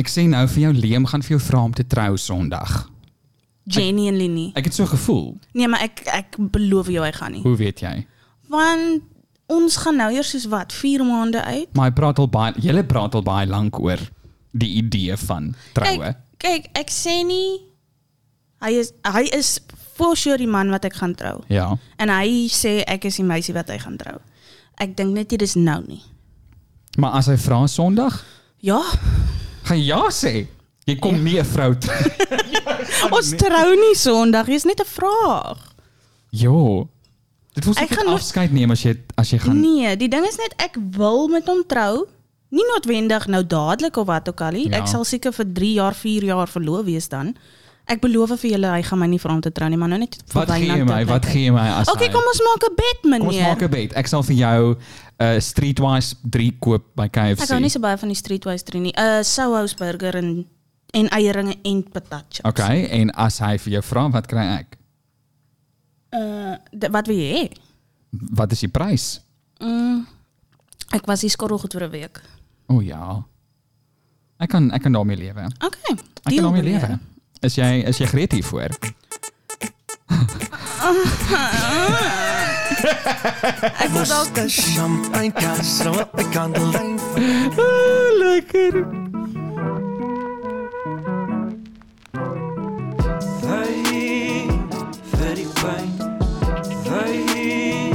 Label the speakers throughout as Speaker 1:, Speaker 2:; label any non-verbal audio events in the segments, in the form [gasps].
Speaker 1: Ek sê nou vir jou Liam gaan vir jou vra om te trou Sondag.
Speaker 2: Genuinely nie.
Speaker 1: Ek het so gevoel.
Speaker 2: Nee, maar ek ek beloof jou hy gaan nie.
Speaker 1: Hoe weet jy?
Speaker 2: Want ons gaan nou eers soos wat 4 maande uit.
Speaker 1: Maar hy praat al baie julle praat al baie lank oor die idee van troue.
Speaker 2: Kyk, kyk, ek sê nie hy is hy is for sure die man wat ek gaan trou.
Speaker 1: Ja.
Speaker 2: En hy sê ek is die meisie wat hy gaan trou. Ek dink net nie dis nou nie.
Speaker 1: Maar as hy vra Sondag,
Speaker 2: Ja,
Speaker 1: gaan jy ja sê. Jy kom nie 'n vrou trou.
Speaker 2: ons trou nie Sondag, dis net 'n vraag.
Speaker 1: [laughs] Jo. Dit moet
Speaker 2: Ek
Speaker 1: ek
Speaker 2: gaan nog-
Speaker 1: afskeid neem as jy as jy gaan
Speaker 2: Nee, die ding is net ek wil met hom trou. Nie noodwendig nou dadelik of wat ook al nie.
Speaker 1: Ja.
Speaker 2: Ek sal seker vir 3 jaar, 4 jaar verloof wees dan. Ek beloof vir julle hy gaan my nie vra om te trou nie, maar nou net vir
Speaker 1: Wat gee jy
Speaker 2: Wynand
Speaker 1: my?
Speaker 2: te
Speaker 1: Wat
Speaker 2: kyk.
Speaker 1: gee jy my as
Speaker 2: Okay,
Speaker 1: hy-
Speaker 2: kom ons maak 'n bed,
Speaker 1: Kom ons maak
Speaker 2: meneer.
Speaker 1: 'n bet. Ek sal vir jou 'n uh, Streetwise 3 koop by KFC.
Speaker 2: Ek hou nie so baie van die streetwise drie nie. 'n uh, Souhouse burger en en eieringe en patatjies.
Speaker 1: Okay, en as hy vir jou vra wat kry ek?
Speaker 2: Uh, d- wat wil jy hê?
Speaker 1: Wat is die prys?
Speaker 2: Mm, ek was hier skorrel goed vir 'n week.
Speaker 1: O oh, ja. Ek kan ek kan daarmee lewe.
Speaker 2: Okay.
Speaker 1: Ek kan daarmee lewe.
Speaker 2: meneer.
Speaker 1: Is jy is jy gereed hiervoor?
Speaker 2: Ek wil dalk
Speaker 3: Moeste champagnekaas, rooi kandelyn.
Speaker 1: Ah, lekker.
Speaker 3: Hey, vir die pyn. Hey,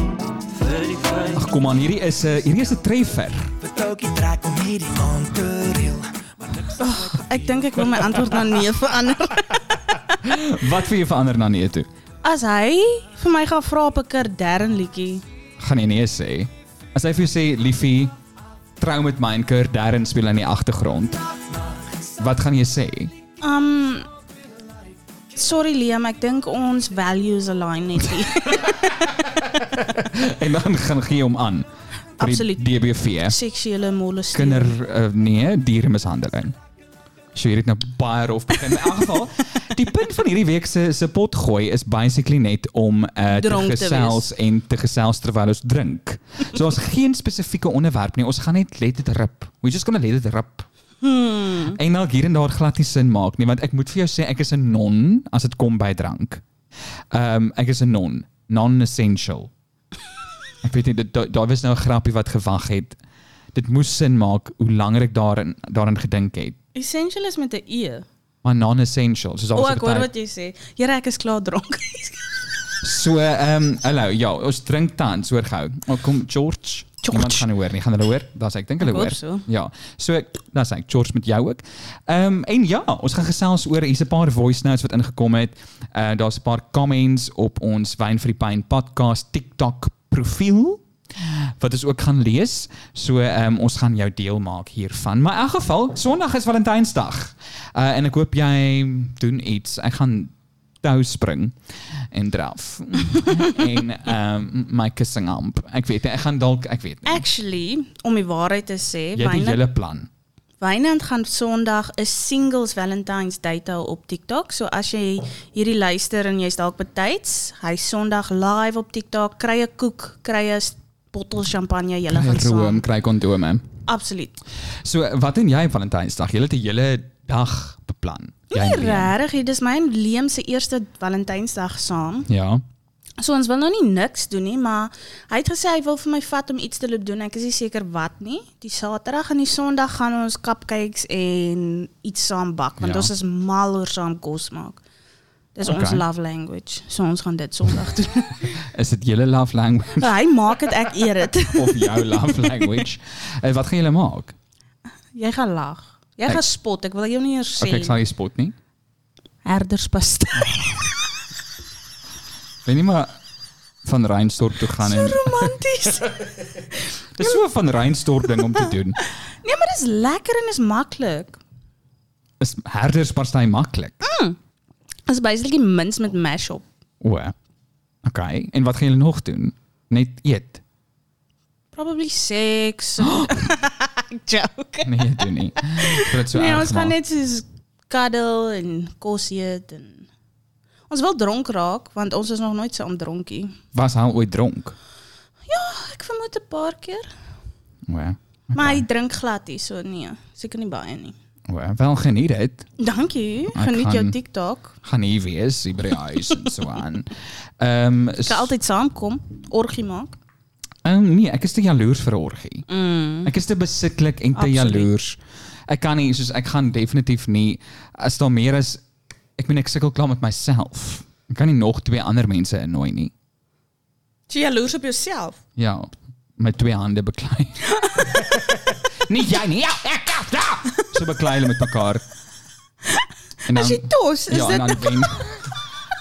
Speaker 3: vir die pyn.
Speaker 1: Ag kom aan, hierdie is 'n hierdie is 'n treffer.
Speaker 3: Betoukie trek om hierdie aan te reël. Maar niks
Speaker 2: ek dink ek wil my antwoord na nee verander.
Speaker 1: Wat vir jou verander na nee toe?
Speaker 2: As hy vir my gaan vra op 'n Kardern liedjie.
Speaker 1: Gaan jy nee sê? As hy vir jou sê liefie, trou met my en Kurt Darren speel aan die agtergrond. Wat gaan jy sê? [laughs]
Speaker 2: Um Sorry Liam, ek dink ons values align net nie.
Speaker 1: [laughs] En dan gaan gee hom aan. vir die
Speaker 2: Absoluut.
Speaker 1: DBV.
Speaker 2: Seksuele molesting.
Speaker 1: kinder uh, nee, dieremishandeling. So hier het nou baie rof begin. In elk geval, die punt van hierdie week se se pot gooi is basically net om uh, te
Speaker 2: Dronk te
Speaker 1: gesels en te gesels terwyl ons drink. So ons geen spesifieke onderwerp nie. Ons gaan net let dit rip. We just gonna let it rip. Hmm. En nou hier en daar glad nie sin maak nie, want ek moet vir jou sê ek is 'n non as dit kom by drank. Ehm um, ek is 'n non, non-essential. Ek weet nie dit da- daar was nou 'n grappie wat gewag het. Dit moes sin maak hoe langer ek daarin daarin gedink het.
Speaker 2: Essential is met 'n E.
Speaker 1: Maar non-essential, soos
Speaker 2: O,
Speaker 1: ons
Speaker 2: ek hoor
Speaker 1: het.
Speaker 2: wat jy sê. Here, ek is klaar dronk. [laughs]
Speaker 1: So ehm um, hallo, ja, ons drink tans hoor gou. Maar kom George,
Speaker 2: George.
Speaker 1: iemand gaan hoor nie, gaan hulle hoor? Daar's ek dink hulle
Speaker 2: Ek hoop
Speaker 1: hoor.
Speaker 2: so.
Speaker 1: Ja. So ek daar's ek George met jou ook. Ehm um, en ja, ons gaan gesels oor hier's 'n paar voice notes wat ingekom het. Uh daar's 'n paar comments op ons Wyn vir die Pyn podcast TikTok profiel. wat ons ook gaan lees. So ehm ons gaan jou deel maak hiervan. Maar in elk geval, Sondag is Valentynsdag. Uh en ek hoop jy doen iets. Ek gaan tou spring en draf. [laughs] en ehm my kissing amp. Ek weet nie, ek gaan dalk ek weet nie.
Speaker 2: Actually, om die waarheid te sê,
Speaker 1: Jy het die
Speaker 2: Wynand
Speaker 1: hele plan.
Speaker 2: Wynand gaan Sondag 'n singles Valentine's Date hou op TikTok. So as jy hierdie luister en jy's dalk betyds, hy Sondag live op TikTok, kry 'n koek, kry 'n bottel champagne, julle gaan
Speaker 1: Room
Speaker 2: saam.
Speaker 1: kry kondome.
Speaker 2: Absoluut.
Speaker 1: So wat doen jy Valentynsdag? Jy het die hele dag beplan. Jy en
Speaker 2: Nie
Speaker 1: Liam.
Speaker 2: regtig, dis my en Liam se eerste Valentynsdag saam.
Speaker 1: Ja.
Speaker 2: So ons wil nou nie niks doen nie, maar hy het gesê hy wil vir my vat om iets te loop doen. Ek is nie seker wat nie. Die Saterdag en die Sondag gaan ons cupcakes en iets saam bak want
Speaker 1: Ja.
Speaker 2: ons is mal oor saam kos maak. Dis
Speaker 1: Okay.
Speaker 2: ons love language. So ons gaan dit Sondag [laughs] doen.
Speaker 1: Is dit julle love language
Speaker 2: hy maak dit ek eer
Speaker 1: [laughs]
Speaker 2: dit.
Speaker 1: of jou love language? En wat gaan julle maak?
Speaker 2: Jy gaan lag. Jy
Speaker 1: Ek-
Speaker 2: gaan spot. Ek wil jou nie eers sê
Speaker 1: Okay, ek sal nie spot nie. [laughs]
Speaker 2: herderspastei.
Speaker 1: Weet nie maar van Reinsdorp toe gaan en
Speaker 2: Romanties.
Speaker 1: dis so van Reinsdorp ding om te doen.
Speaker 2: nee, maar dis lekker en is maklik.
Speaker 1: Is herdersparty maklik.
Speaker 2: Dis basically mints met mash op.
Speaker 1: O. Okay. En wat gaan julle nog doen? Net eet.
Speaker 2: Probably sex. [laughs] Joke.
Speaker 1: Nee, doen nie. Vir dit so
Speaker 2: [laughs] nee,
Speaker 1: erg
Speaker 2: ons gaan
Speaker 1: maak.
Speaker 2: net soos kuddel en kos eet en ons wil dronk raak want ons is nog nooit saam dronkie.
Speaker 1: was hy ooit dronk.
Speaker 2: Ek vermoed 'n paar keer,
Speaker 1: O.
Speaker 2: maar hy drink glad nie, so nee, seker nie baie nie.
Speaker 1: Wel, wel geniet dit.
Speaker 2: Dankie.
Speaker 1: gaan-
Speaker 2: Geniet jou TikTok.
Speaker 1: Gaan hier wees, hier by die huis en so aan. Ehm
Speaker 2: Ek kan
Speaker 1: s-
Speaker 2: altyd saamkom, orgie maak.
Speaker 1: ehm, nee, ek is te jaloers vir 'n orgie. Ek is te besitlik en te
Speaker 2: Mm. Absoluut.
Speaker 1: jaloers. Ek kan nie, soos ek gaan definitief nie as daar meer is ek meen ek sukkel klaar met myself. Ek kan nie nog twee ander mense innooi nie.
Speaker 2: Jy jaloers op jouself.
Speaker 1: Ja, met twee hande
Speaker 2: [laughs]
Speaker 1: beklei. [laughs] nie jy nie. Ja, ja, ja, ja. So beklei hulle met mekaar. En
Speaker 2: As jy tos, is
Speaker 1: Ehm, ja, nou- en
Speaker 2: dit
Speaker 1: dan wen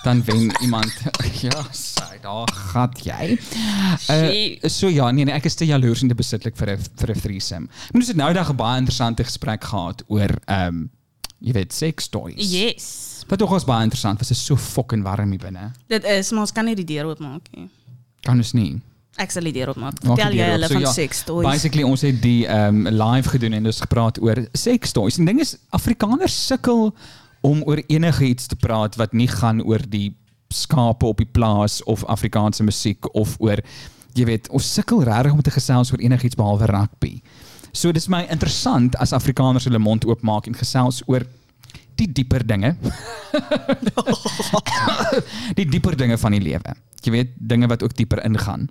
Speaker 1: dan wen iemand. ja, sy daar gat jy. Eh, so ja, nee nee, ek is te jaloers en te besitlik vir 'n vir 'n threesome. Ek moet dit nou daag 'n baie interessante gesprek gehad oor ehm jy weet seks toys.
Speaker 2: Yes.
Speaker 1: Wat ook was baie interessant, was dit so fucking warm hier binne.
Speaker 2: Dit is, maar ons kan nie die deur oopmaak nie.
Speaker 1: Kan ons nie.
Speaker 2: Ek sal die deur oopmaak.
Speaker 1: Maak
Speaker 2: Vertel
Speaker 1: die
Speaker 2: jy
Speaker 1: deur
Speaker 2: hulle
Speaker 1: oop. So
Speaker 2: van
Speaker 1: ja,
Speaker 2: seks toys.
Speaker 1: Basically ons het die ehm live gedoen en dus gepraat oor seks toys. En ding is Afrikaners sukkel om oor enigiets te praat wat nie gaan oor die skape op die plaas of Afrikaanse musiek of oor jy weet, ons sukkel regtig om te gesels oor enigiets behalwe rugby. So dis my interessant as Afrikaners hulle mond oopmaak en gesels oor die dieper dinge. die dieper dinge van die lewe. Jy weet, dinge wat ook dieper ingaan.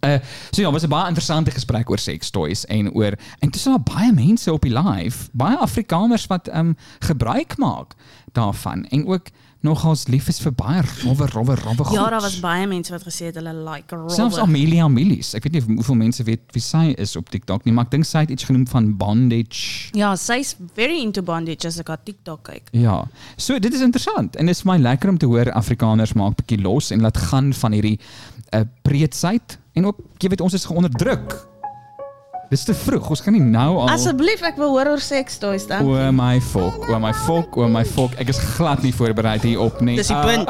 Speaker 1: Uh, so ja, was 'n baie interessante gesprek oor seks toys en oor en tussen daar baie mense op die live, baie Afrikaners wat ehm um, gebruik maak daarvan en ook nogals lief is vir baie rowwe rowwe rowwe goed.
Speaker 2: Ja, daar was baie mense wat gesê het hulle like rowwe.
Speaker 1: Selfs Amelia Milies. Ek weet nie hoeveel mense weet wie sy is op TikTok nie, maar ek dink sy het iets genoem van bondage.
Speaker 2: Ja, sy's very into bondage as ek haar TikTok kyk.
Speaker 1: Ja. So dit is interessant en dit is vir my lekker om te hoor Afrikaners maak bietjie los en laat gaan van hierdie uh, preetsheid en ook jy weet ons is geonderdruk. Dis te vroeg. Ons kan nie nou al
Speaker 2: Asseblief, ek wil hoor oor seks toys dan.
Speaker 1: O my fok, o my fok, o my fok. Ek is glad nie voorberei hierop nie.
Speaker 2: Dis die punt.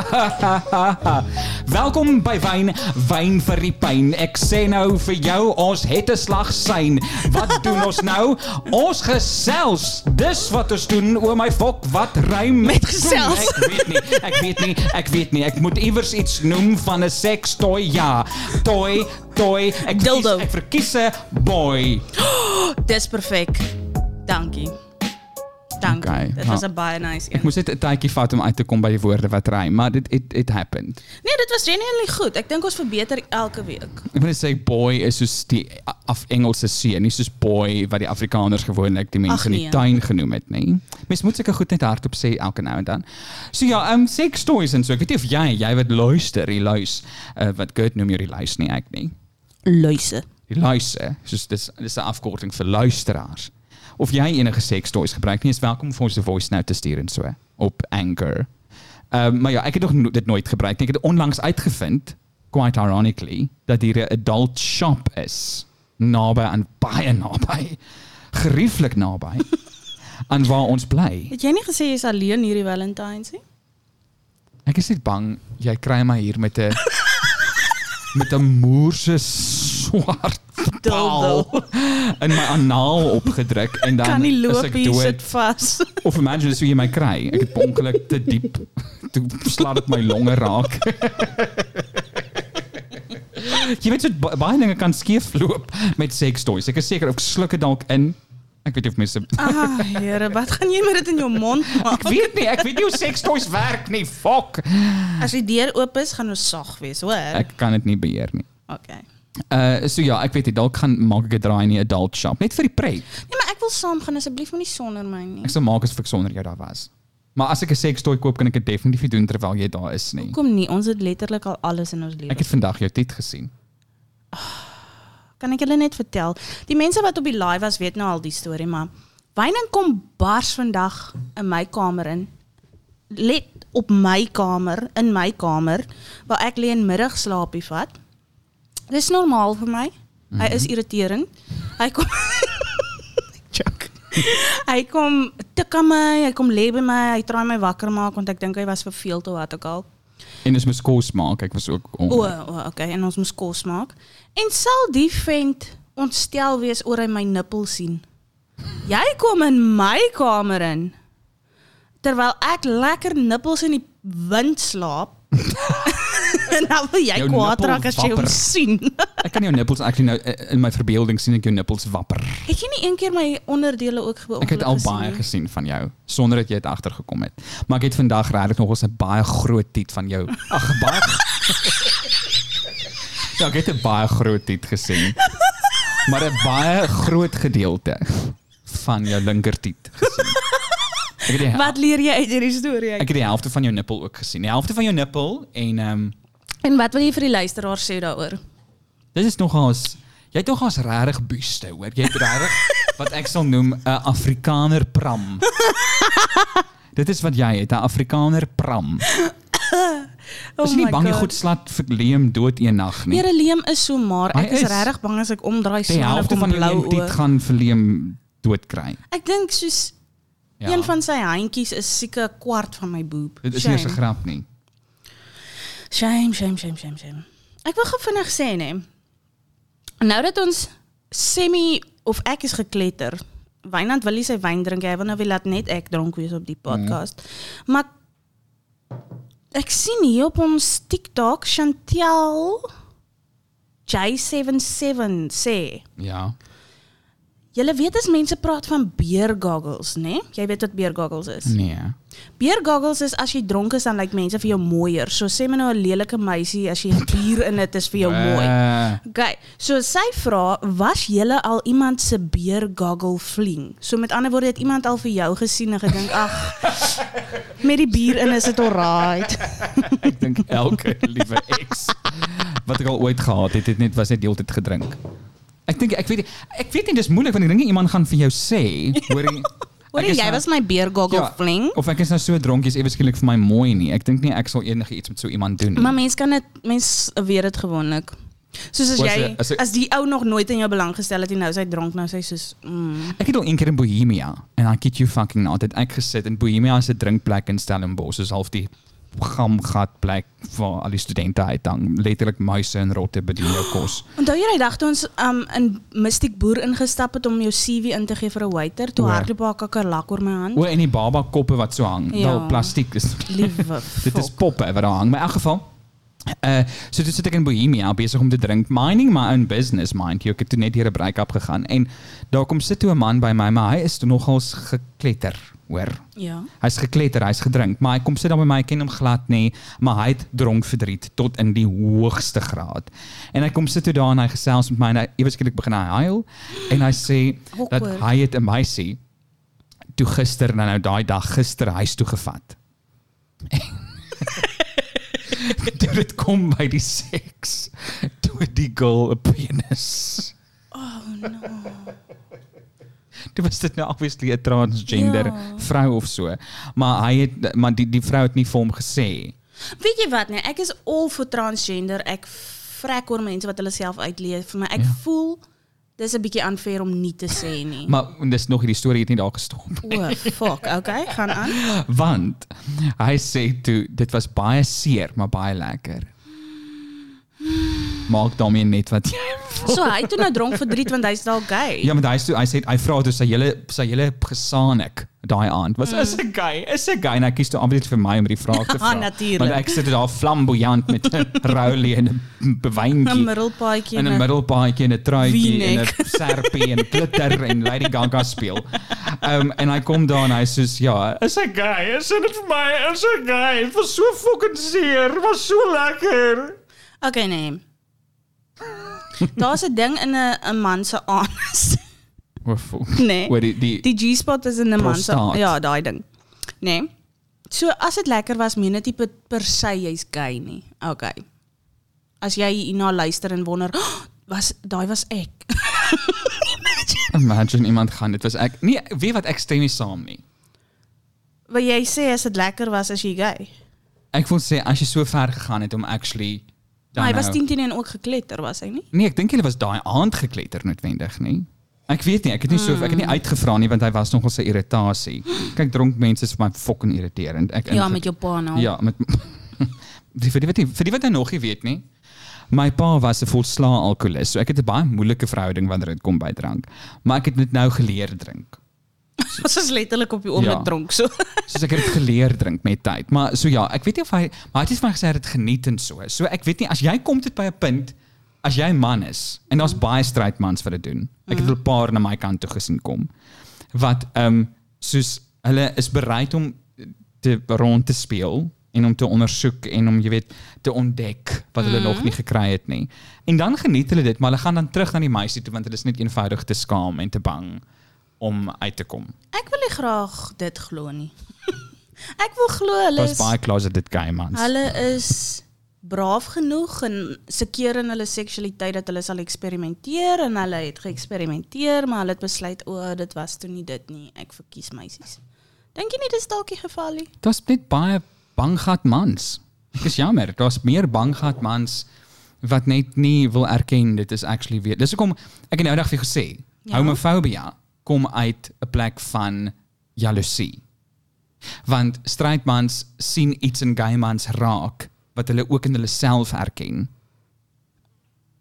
Speaker 1: Welkom by Wyn, Wyn vir die pyn. Ek sê nou vir jou, ons het 'n slag syn.
Speaker 2: [laughs]
Speaker 1: Wat doen ons nou? Ons gesels. Dis wat ons doen. O my fok, wat rym
Speaker 2: Met gesels.
Speaker 1: Ek weet nie. Ek weet nie. Ek weet nie. Ek moet iewers iets noem van 'n sekstooi. Ja. Toy, toy. Ek
Speaker 2: Dildo.
Speaker 1: verkies, ek verkies 'n boy.
Speaker 2: Dis perfek. Dankie. Dankie.
Speaker 1: Okay,
Speaker 2: dit
Speaker 1: nou,
Speaker 2: was 'n baie nice
Speaker 1: Ek
Speaker 2: een.
Speaker 1: moes net 'n tydjie vat om uit te kom by die woorde wat ry, maar dit it, it happened.
Speaker 2: Nee, dit was genuinely goed. Ek dink ons verbeter elke week.
Speaker 1: Ek wil net sê boy is soos die a- af Engelse see, nie soos boy wat die Afrikaners gewoonlik die mense
Speaker 2: Ag,
Speaker 1: in die
Speaker 2: nee.
Speaker 1: tuin genoem het nie. Mens moet seker goed net hardop sê elke nou en dan. So ja, um sex stories en so. Ek weet nie of jy, jy wat luister, die luis, uh, wat goed noem jy die luis nie ek nie.
Speaker 2: Luise.
Speaker 1: Die luise, soos dis dis 'n afkorting vir luisteraars. Of jy enige seks toys gebruik, nie is welkom vir ons 'n voice note te stuur en so op Anchor. Ehm maar ja, ek het nog no dit nooit gebruik nie. Ek het onlangs uitgevind, quite ironically, dat hier 'n adult shop is naby aan baie naby, [laughs] gerieflik naby aan waar ons bly.
Speaker 2: Het jy nie gesê jy's alleen hierdie Valentines nie?
Speaker 1: Ek is net bang jy kry my hier met
Speaker 2: [laughs]
Speaker 1: 'n met 'n moerse swart paal in my anaal opgedruk en dan
Speaker 2: Kan nie
Speaker 1: Ja, nee, is
Speaker 2: loop
Speaker 1: ek
Speaker 2: hier
Speaker 1: dood.
Speaker 2: sit
Speaker 1: [laughs]
Speaker 2: vas.
Speaker 1: Of imagine dis hoe jy my kry. Ek het per ongeluk te diep toe slaat dit my longe raak. jy weet so ba- baie dinge kan skeef loop met seks toys. Ek is seker ek sluk dit dalk in. Ek weet nie of mense
Speaker 2: Ah, Here, wat gaan jy met dit in jou mond
Speaker 1: Ek
Speaker 2: maak?
Speaker 1: weet nie, ek weet nie hoe seks toys werk nie. Fok.
Speaker 2: As die deur oop is, gaan ons sag wees, hoor.
Speaker 1: Ek kan dit nie beheer nie.
Speaker 2: Okay.
Speaker 1: Uh so ja, ek weet nie, dalk gaan maak ek 'n draai in die adult shop net vir die pret.
Speaker 2: Nee, maar ek wil saam gaan asseblief moenie sonder my nie.
Speaker 1: Ek sou maak asof ek sonder jou daar was. Maar as ek 'n seks toy koop, kan ek dit definitief nie doen terwyl jy daar is nie.
Speaker 2: Kom nie, ons het letterlik al alles in ons lewe.
Speaker 1: Ek het vandag jou tit gesien.
Speaker 2: Kan ek julle net vertel? Die mense wat op die live was, weet nou al die storie, maar Wyning kom bars vandag in my kamer in. Let op my kamer, in my kamer, waar ek lê en middagslaapie vat. Dis normaal vir my. Hy
Speaker 1: Mhm.
Speaker 2: is irriterend. Hy kom [laughs] Joke. hy kom tik aan my, hy kom lê by my, hy probeer my wakker maak want ek dink hy was verveeld of wat ook al.
Speaker 1: En dis mos kos maak. Ek was ook
Speaker 2: O,
Speaker 1: on.
Speaker 2: o, okay, en ons moes kos maak. En sal die vent ontstel wees oor hy my nippel sien. Jy kom in my kamer in [laughs] terwyl ek lekker nippels in die wind slaap. nou wil jy
Speaker 1: Jou
Speaker 2: kwaad
Speaker 1: nippel
Speaker 2: raak as jy hom
Speaker 1: wapper.
Speaker 2: sien. [laughs]
Speaker 1: Ek kan jou nippels actually nou eh, in my verbeelding sien ek jou nippels wapper.
Speaker 2: het jy nie een keer my onderdele ook beooglik
Speaker 1: Ek het al baie
Speaker 2: nie?
Speaker 1: gesien van jou sonder dat jy dit agtergekom het. Maar ek het vandag regtig nog ons 'n baie groot tit van jou. Ag, baie [laughs] Ja, ek het 'n baie groot tit gesien. Maar 'n baie groot gedeelte van jou linker tit gesien. Ek het die,
Speaker 2: [laughs]
Speaker 1: hel-
Speaker 2: Wat leer jy uit hierdie storie?
Speaker 1: ek het die helfte van jou nippel ook gesien. Die helfte van jou nippel en ehm um,
Speaker 2: En wat wil jy vir die luisteraar sê daaroor?
Speaker 1: Dit is nogals jy het nogals regtig buste, hoor. Jy het
Speaker 2: [laughs]
Speaker 1: regtig wat ek sal noem 'n Afrikaner pram. Dit is wat jy het, 'n Afrikaner pram.
Speaker 2: Oh
Speaker 1: Is jy nie
Speaker 2: my
Speaker 1: bang jy
Speaker 2: God.
Speaker 1: goed slat vir leem dood eendag nie?
Speaker 2: Here Leem is so maar.
Speaker 1: Hy
Speaker 2: Ek is,
Speaker 1: is.
Speaker 2: regtig bang as ek omdraai
Speaker 1: Die
Speaker 2: sien ek
Speaker 1: helfte
Speaker 2: kom
Speaker 1: van
Speaker 2: blou
Speaker 1: jou tit
Speaker 2: oë.
Speaker 1: gaan vir leem dood kry.
Speaker 2: Ek dink soos
Speaker 1: Ja.
Speaker 2: een van sy handjies is seker 'n kwart van my boob.
Speaker 1: Dit is nie
Speaker 2: shame.
Speaker 1: eens 'n grap nie.
Speaker 2: shame, shame, shame, shame, shame. Ek wil gou vinnig sê nê. Nou dat ons semi of ek is gekletter. Wynand wil nie sy wyn drink hy wil nou wil laat net ek dronk wees op die
Speaker 1: Mhm.
Speaker 2: podcast. Maar ek sien hier op ons TikTok Chantel J77 sê
Speaker 1: Ja.
Speaker 2: Julle weet as mense praat van beer goggles, né? Nee? Jy weet wat beer goggles is.
Speaker 1: Nee.
Speaker 2: Beer goggles is as jy dronk is dan lyk mense vir jou mooier. So sê maar nou 'n lelike meisie as jy [laughs] bier in dit is vir jou mooi.
Speaker 1: Eh,
Speaker 2: Okay. So sy vra, was julle al iemand se beer goggle fling? So met ander woorde het iemand al vir jou gesien en gedink, ag,
Speaker 1: [laughs]
Speaker 2: met die bier in is dit alright.
Speaker 1: ek dink elke liewe ex wat ek al ooit gehad het, het net was net deeltyd gedrink. Ek dink ek weet nie- ek weet nie dis moeilik want ek dink nie iemand gaan vir jou sê hoor jy
Speaker 2: [laughs] Hoor
Speaker 1: ek is
Speaker 2: jy
Speaker 1: nou-
Speaker 2: was my beer goggle fling?
Speaker 1: Of ek is nou so dronk jy's ewe skielik vir my mooi nie. Ek dink nie ek sal enige iets met so iemand doen nie.
Speaker 2: Maar mens kan dit mens weet dit gewoonlik. Soos as
Speaker 1: Was
Speaker 2: jy
Speaker 1: dit- as ek-
Speaker 2: as die ou nog nooit in jou belang gestel het en nou sy dronk nou sy soos mm.
Speaker 1: ek het al een keer in Bohemia en I kid you fucking not het ek gesit in Bohemia is 'n drinkplek in Stellenbosch, is half die gamgat plek waar al die studente uithang. Letterlik muise en rotte bedien jou kos.
Speaker 2: Onthou jy daai dag toe ons um in Mystic Boer ingestap het om jou CV in te gee vir 'n waiter, toe
Speaker 1: Oor.
Speaker 2: hardloop haar kakerlak oor my hand.
Speaker 1: O en die baba koppe wat so hang. Ja.
Speaker 2: Ja.
Speaker 1: Daal plastiek is
Speaker 2: Liewe.
Speaker 1: [laughs] Dit is
Speaker 2: fok.
Speaker 1: poppe wat daar hang. Maar in elk geval Uh, so dit sit ek in Bohemia besig om te drink, minding my own business, mind you. Ek het toe net hier 'n break-up gegaan en daar kom sit toe 'n man by my, maar hy is toe nogals gekletter, hoor.
Speaker 2: ja.
Speaker 1: Hy's gekletter, hy's gedrink, maar hy kom sit dan by my, ek ken hom glad nie, maar hy het dronk verdriet tot in die hoogste graad. En hy kom sit toe daar en hy gesels met my en hy ewe skielik begin hy huil en hy sê dat
Speaker 2: Awkward.
Speaker 1: hy het 'n meisie toe gister nou nou daai dag gister huis toe gevat. toe [laughs] dit kom by die seks, toe het die girl 'n penis. Dit was dit nou obviously 'n transgender
Speaker 2: Ja.
Speaker 1: vrou of so, maar hy het maar die die vrou het nie vir hom gesê.
Speaker 2: Weet jy wat nee, ek is all vir transgender. Ek vrek oor mense wat hulle self uitleef vir my. Ek
Speaker 1: Ja.
Speaker 2: voel dis 'n bietjie unfair om nie te sê
Speaker 1: [laughs]
Speaker 2: nie.
Speaker 1: Maar en dis nog hierdie storie het nie daar gestop
Speaker 2: [laughs] O, fuck. Okay, gaan aan.
Speaker 1: [laughs] want hy sê toe dit was baie seer, maar baie lekker. Maak daarmee net wat jy
Speaker 2: So hy het toe nou dronk verdriet want hy's dalk gay.
Speaker 1: Ja, want hy sê hy sê hy vra toe sy hele sy hele gesaanik daai aand. Was is 'n guy, is 'n guy en hy kies toe obviously vir my om die vraag te
Speaker 2: Mm. [laughs] Ja,
Speaker 1: vra.
Speaker 2: natuurlijk.
Speaker 1: Want ek sit daar flamboyant met
Speaker 2: [laughs]
Speaker 1: 'n roulie en 'n bewyntjie.
Speaker 2: 'n middelpaadjie
Speaker 1: in
Speaker 2: en
Speaker 1: 'n
Speaker 2: 'n-
Speaker 1: middelpaadjie en 'n truitjie en 'n
Speaker 2: [laughs] V-nek.
Speaker 1: serpie en glitter en Lady Gaga speel. Um en hy kom daar en hy sê ja, is 'n guy, is dit vir my, is 'n guy. Dit was so fucking seer, was so lekker.
Speaker 2: Okay, nee. Daar's 'n ding in 'n 'n man se [laughs] anus.
Speaker 1: O, fok.
Speaker 2: Nee.
Speaker 1: Oor die die,
Speaker 2: Die G-spot is in 'n man se
Speaker 1: Prostaat.
Speaker 2: ja, daai ding. Nee. So as dit lekker was, meen dit nie per- per se jy's gay nie. Okay. As jy hierna luister en wonder, [gasps] "Oh, was daai was ek. [laughs]
Speaker 1: imagine iemand gaan, dit was ek. Nee, weet wat ek stem nie saam nie.
Speaker 2: Wat jy sê as dit lekker was as jy gay.
Speaker 1: Ek wil sê as jy so ver gegaan het om actually dan
Speaker 2: Maar hy
Speaker 1: nou-
Speaker 2: was 10 10 en ook gekletter was hy nie?
Speaker 1: Nee, ek dink hulle was daai aand gekletter noodwendig, nie? Ek weet nie, ek het nie so ek het nie
Speaker 2: Hmm.
Speaker 1: uitgevra nie want hy was nogal 'n irritasie. Kyk, dronk mense is vir my fucking irriterend. Ek
Speaker 2: Ja,
Speaker 1: inge-
Speaker 2: met jou pa nou.
Speaker 1: Ja, met [laughs] die, vir die wat nie, vir die wat nou nog nie weet nie. My pa was 'n volslae alkolikus, so ek het 'n baie moeilike verhouding wanneer dit kom by drank. Maar ek het dit nou geleer drink.
Speaker 2: [laughs] Ons is letterlik op die oomblik
Speaker 1: Ja.
Speaker 2: dronk so. [laughs]
Speaker 1: Soos ek het dit geleer drink met tyd. Maar so ja, ek weet nie of hy maar hy het iets van gesê hy het dit geniet en so. So ek weet nie as jy kom dit by 'n punt as jy 'n man is en daar's baie straight mans wat dit doen. Ek het 'n paar na my kant toe gesien kom wat ehm soos hulle is bereid om te rond te speel en om te ondersoek en om jy weet te ontdek wat hulle nog nie gekry het nie. En dan geniet hulle dit, maar hulle gaan dan terug na die meisie toe want hulle is net eenvoudig te skaam en te bang om uit te kom.
Speaker 2: Ek wil nie graag dit glo [laughs] nie. Ek wil glo hulle
Speaker 1: Daar's
Speaker 2: is
Speaker 1: baie closeted gay mans.
Speaker 2: hulle is braaf genoeg en seker in hulle seksualiteit dat hulle sal eksperimenteer en hulle het geëksperimenteer, maar hulle het besluit o, dit was toe nie dit nie. Ek verkies meisies. Dink jy nie dis dalk die geval nie?
Speaker 1: Daar's net baie banggat mans. Dit is jammer, daar's meer banggat mans wat net nie wil erken dit is actually weer. Dis hoekom ek het nou eendag vir jou gesê,
Speaker 2: Ja.
Speaker 1: ja. homofobia kom uit 'n plek van jaloesie. Want straight mans sien iets in gay mans raak wat hulle ook in hulle self erken.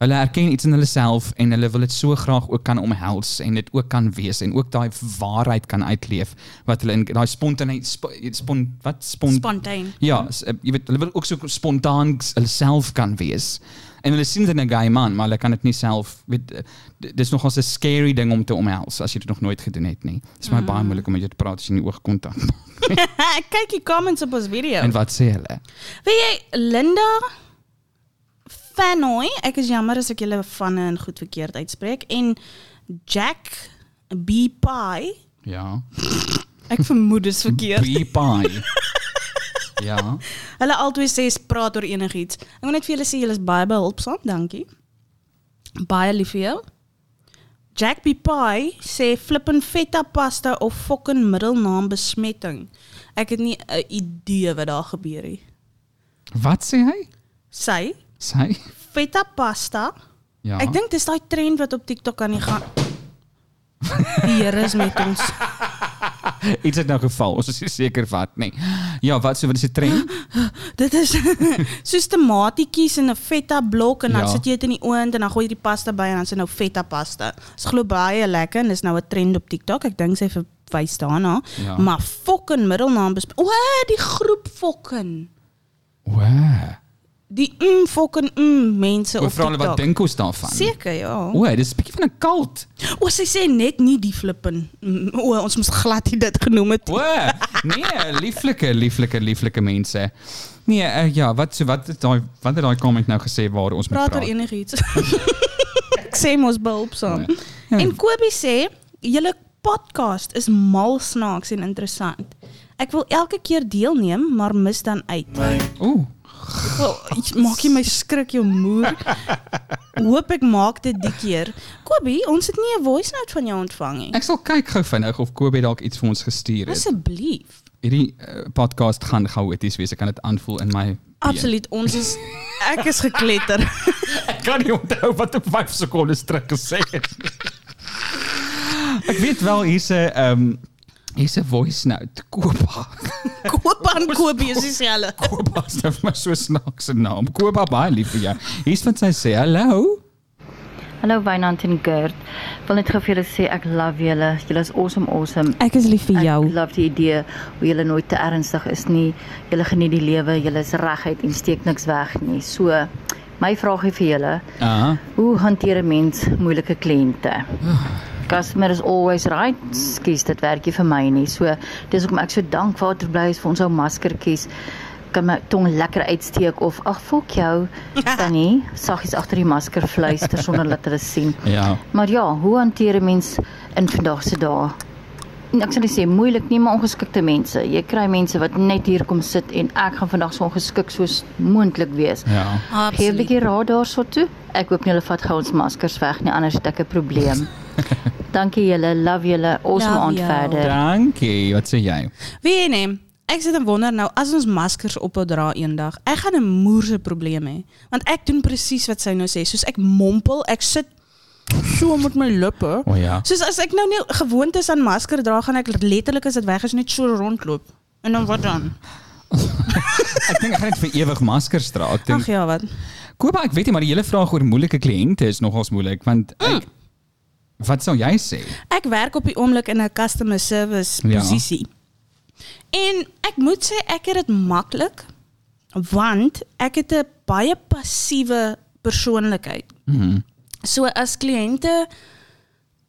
Speaker 1: Hulle erken iets in hulle self en hulle wil dit so graag ook kan omhels en dit ook kan wees en ook daai waarheid kan uitleef wat hulle in daai spontaneit sp, spon wat spon,
Speaker 2: Spontaan. [laughs]
Speaker 1: Ja, s- eh, jy weet, hulle wil ook so spontaan s- hulle self kan wees. En hulle sien dit in 'n gay man, maar hulle kan dit nie self weet eh, d- dis nogals 'n scary ding om te omhels as jy dit nog nooit gedoen het nie. Dit is
Speaker 2: Mm.
Speaker 1: my baie moeilik om met jou te praat as jy nie oog kontak.
Speaker 2: Ek kyk die comments op ons video.
Speaker 1: En wat sê hulle?
Speaker 2: Weet jy Linda Fanoy, ek is jammer as ek julle van en goed verkeerd uitspreek en Jack B Pie.
Speaker 1: Ja.
Speaker 2: Ek vermoed dis verkeerd.
Speaker 1: Be
Speaker 2: [laughs]
Speaker 1: pie. ja.
Speaker 2: Hulle albei sê s- praat oor enigiets. Ek wil net vir julle sê julle is baie behulpsaam, dankie. Baie lief vir jou. Jack B Pie sê flippin feta pasta of fucking middelnaam besmetting. Ek het nie 'n idee wat daar gebeur nie.
Speaker 1: Wat sê hy?
Speaker 2: Sy
Speaker 1: Sy?
Speaker 2: feta pasta
Speaker 1: Ja.
Speaker 2: Ek dink dis daai trend wat op TikTok aan die gang. [laughs] Die Here is met ons.
Speaker 1: iets het nou geval. Ons is nie seker wat nie. Ja, wat so wat is die trend?
Speaker 2: [gasps] Dit is [laughs] soos tomatietjies in 'n feta blok en dan
Speaker 1: Ja.
Speaker 2: sit jy dit in die oond en dan gooi jy die pasta by en dan is dit nou feta pasta. Dis glo baie lekker en dis nou 'n trend op TikTok. Ek dink sy verwys daarna.
Speaker 1: Ja.
Speaker 2: Maar fokken middelnaam bes O, die groep fokken.
Speaker 1: Wow.
Speaker 2: Die mm fokken mm mense
Speaker 1: Ek
Speaker 2: op
Speaker 1: vra
Speaker 2: TikTok.
Speaker 1: hulle wat dink ons daarvan?
Speaker 2: Seker ja.
Speaker 1: O, dis 'n bietjie van 'n kult.
Speaker 2: O, sy sê net nie die flippen. Mm, O, ons moes glad nie dit genoem het.
Speaker 1: O, nee, lieflike, lieflike, lieflike mense. Nee, eh, ja, wat so wat het daai wat het daai comment nou gesê waar ons moet
Speaker 2: praat
Speaker 1: praat?
Speaker 2: oor [laughs] enigiets. ek sê mos behulpsaam.
Speaker 1: Nee. Ja.
Speaker 2: En Kobie sê, "Julle podcast is mal snaaks en interessant. Ek wil elke keer deelneem, maar mis dan uit.
Speaker 1: Ooh,
Speaker 2: Wel, iets maak jy my skrik jou
Speaker 1: [laughs]
Speaker 2: moer. Hoop ek maak dit die keer. Kobie, ons het nie 'n voice note van jou ontvang nie.
Speaker 1: ek sal kyk gou vinnig of Kobie dalk iets vir ons gestuur het.
Speaker 2: Asseblief.
Speaker 1: Hierdie uh, podcast gaan chaoties wees. Ek kan dit aanvoel in my
Speaker 2: Absoluut, ons is ek is gekletter.
Speaker 1: [laughs] Ek kan nie onthou wat op 5 sekondes terug gesê het. Ek weet wel hier's 'n ehm hier's 'n voice note. Koba. [laughs]
Speaker 2: Koop aan Kobie is dieselfde.
Speaker 1: Koba is nou vir my so snaaks se naam. Koba baie lief vir jou. Hier's wat sy sê. Hallo.
Speaker 4: Hallo Wynand en Gert. Wil net gou vir julle sê ek love julle. Julle is awesome awesome.
Speaker 2: Ek is lief vir jou.
Speaker 4: Ek love die idee hoe julle nooit te ernstig is nie. Julle geniet die lewe, julle is reguit en steek niks weg nie. So my vraagie vir julle,
Speaker 1: Ah.
Speaker 4: hoe hanteer 'n mens moeilike kliënte? Customer is always right. Skus, dit werk nie vir my nie. So dis hoekom ek so dankbaar te bly is vir ons ou maskertjies. Kan my tong lekker uitsteek of ag fok jou tannie saggies agter die masker fluister sonder dat hulle sien.
Speaker 1: Ja.
Speaker 4: Maar ja, hoe hanteer 'n mens in vandag se dae? En Ek sal nie sê moeilik nie, maar ongeskikte mense. Jy kry mense wat net hier kom sit en ek gaan vandag so ongeskik soos moontlik wees.
Speaker 1: Ja.
Speaker 4: Gee 'n
Speaker 2: Absoluut.
Speaker 4: bietjie raad daarso toe. Ek hoop nie hulle vat gou ons maskers weg nie, anders het ek 'n
Speaker 2: [laughs]
Speaker 4: probleem. Dankie julle, love julle. Awesome
Speaker 2: Love
Speaker 4: aand
Speaker 2: jou.
Speaker 4: verder.
Speaker 1: Dankie. Wat sê jy?
Speaker 2: Weet jy nie, ek sit en wonder nou as ons maskers ophou dra eendag, ek gaan 'n moerse probleem hê. Want ek doen presies wat sy nou sê, soos ek mompel, ek sit so met my lippe.
Speaker 1: O Oh, ja.
Speaker 2: Soos as ek nou nie gewoond is aan masker dra, gaan ek letterlik as dit weg is net so rondloop. En dan wat dan?
Speaker 1: Ek dink ek gaan net vir ewig maskers dra. Ek dink
Speaker 2: Ag ja, wat. Hmm.
Speaker 1: Koba, ek weet nie, maar die hele vraag oor moeilike kliënte is nogals moeilik want ek Wat sou jy sê?
Speaker 2: Ek werk op die oomblik in 'n customer service
Speaker 1: Ja.
Speaker 2: posisie. En ek moet sê ek het dit maklik want ek het 'n baie passiewe persoonlikheid. So as kliënte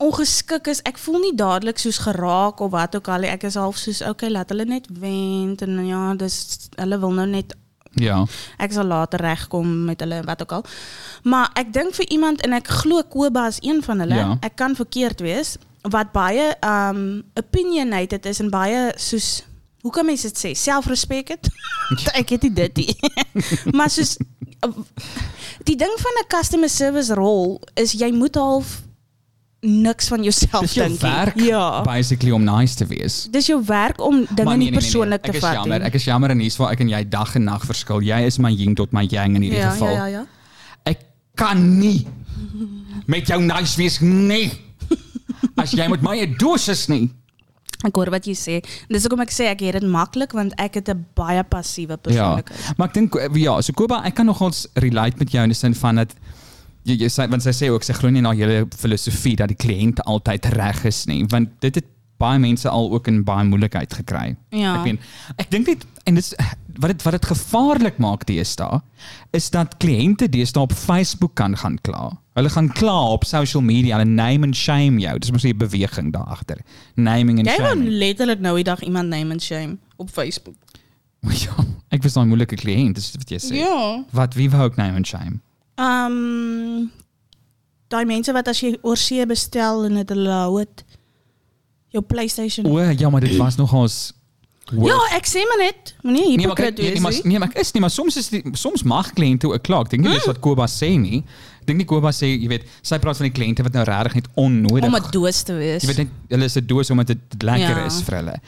Speaker 2: ongeskik is, ek voel nie dadelik soos geraak of wat ook al nie. Ek is half soos okay, laat hulle net wend en ja, dis hulle wil nou net
Speaker 1: Ja.
Speaker 2: Ek sal later regkom met hulle en wat ook al. Maar ek dink vir iemand en ek glo Koba is een van hulle.
Speaker 1: Ja.
Speaker 2: Ek kan verkeerd wees wat baie um opinionated is en baie soos hoe kan mense dit sê? Selfrespek
Speaker 1: [laughs]
Speaker 2: het. ek het nie [laughs] dit nie. maar soos die ding van 'n customer service rol is jy moet half niks van jouself
Speaker 1: Dis jou
Speaker 2: dink. nie.
Speaker 1: werk
Speaker 2: Ja.
Speaker 1: basically om nice te wees.
Speaker 2: Dis jou werk om dinge
Speaker 1: Maar nee,
Speaker 2: nie persoonlik
Speaker 1: Ek
Speaker 2: te
Speaker 1: is
Speaker 2: vat
Speaker 1: jammer.
Speaker 2: nie.
Speaker 1: Ek is jammer en hier's waar ek en jy dag en nag verskil. Jy is my yin tot my yang in hierdie
Speaker 2: ja,
Speaker 1: geval.
Speaker 2: ja, ja, ja.
Speaker 1: Ek kan
Speaker 2: [laughs]
Speaker 1: nie met jou nice wees nie. As jy met my 'n dosis nie.
Speaker 2: Ek hoor wat Dus jy sê. Dis hoekom ek sê ek het dit maklik want ek het 'n baie passiewe
Speaker 1: Ja.
Speaker 2: persoonlikheid. Ja.
Speaker 1: Maar ek dink eh, ja, so Koba, ek kan nogals relate met jou in die sin van dat jy, jy sê want sy sê ook sy glo nie na julle filosofie dat die kliënt altyd reg is nie, want dit het baie mense al ook in baie moeilikheid gekry.
Speaker 2: Ja.
Speaker 1: Ek meen, ek dink net en dis wat dit wat dit gevaarlik maak deesdae is dat kliënte deesdae op Facebook kan gaan kla. Hulle gaan kla op social media, hulle name and shame jou. Dis mos 'n beweging daar agter. Naming and
Speaker 2: Jy wou
Speaker 1: shaming.
Speaker 2: letterlik nou die dag iemand name and shame op Facebook.
Speaker 1: [laughs] Ja, ek was daai moeilike kliënt, dis wat jy sê.
Speaker 2: Ja.
Speaker 1: Wat wie wou ek name and shame?
Speaker 2: Ehm um, daai mense wat as jy oorsee bestel en dit hulle hou dit jou PlayStation.
Speaker 1: O, ja, maar dit was nogals
Speaker 2: ja, ek sê maar net, moenie
Speaker 1: Nee, maar ek
Speaker 2: hipokrit
Speaker 1: nee, nee,
Speaker 2: wees
Speaker 1: maar,
Speaker 2: nie.
Speaker 1: nee, maar ek is nie, maar soms is die, soms mag kliënte ook klaar. Ek dink nie dis wat Koba sê nie. Ek dink nie Koba sê, jy weet, sy praat van die kliënte wat nou regtig net onnodig.
Speaker 2: Om 'n doos te wees.
Speaker 1: jy weet net hulle is 'n doos omdat dit lekker
Speaker 2: Ja.
Speaker 1: is vir hulle.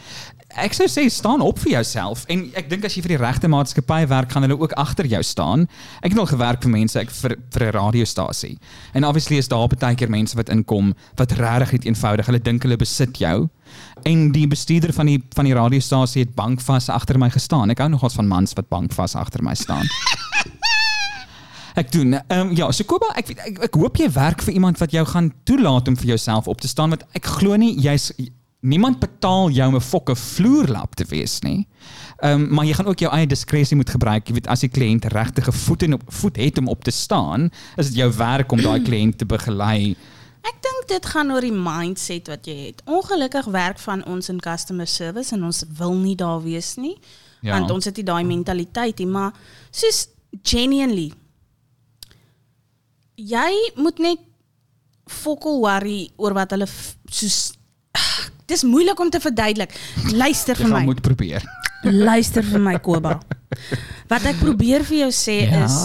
Speaker 1: Ek sou sê staan op vir jouself en ek dink as jy vir die regte maatskappy werk, gaan hulle ook agter jou staan. Ek het al gewerk vir mense, ek vir vir 'n radiostasie. En obviously is daar baie keer mense wat inkom wat regtig net eenvoudig, hulle dink hulle besit jou. En die bestuurder van die van die radiostasie het bankvas agter my gestaan. Ek hou nogals van mans wat bankvas agter my staan. Ek doen. Ehm ja, so Koba, ek, weet- ek ek hoop jy werk vir iemand wat jou gaan toelaat om vir jouself op te staan want ek glo nie jy's niemand betaal jou om 'n fokke vloerlap te wees nie. Ehm maar jy gaan ook jou eie diskresie moet gebruik. Jy weet as die kliënt regtige voet en op voet het om op te staan, is dit jou werk om daai kliënt te begelei.
Speaker 2: Ek dink dit gaan oor die mindset wat jy het. Ongelukkig werk van ons in customer service en ons wil nie daar wees nie.
Speaker 1: Ja.
Speaker 2: Ja. Want ons het nie daai mentaliteit nie, maar soos genuinely jy moet net fokol worry oor wat hulle f- soos ah, Dis moeilik om te verduidelik. Luister
Speaker 1: Jy
Speaker 2: vir my.
Speaker 1: gaan moet [laughs] probeer.
Speaker 2: Luister vir my Koba. Wat ek probeer vir jou sê
Speaker 1: Ja.
Speaker 2: is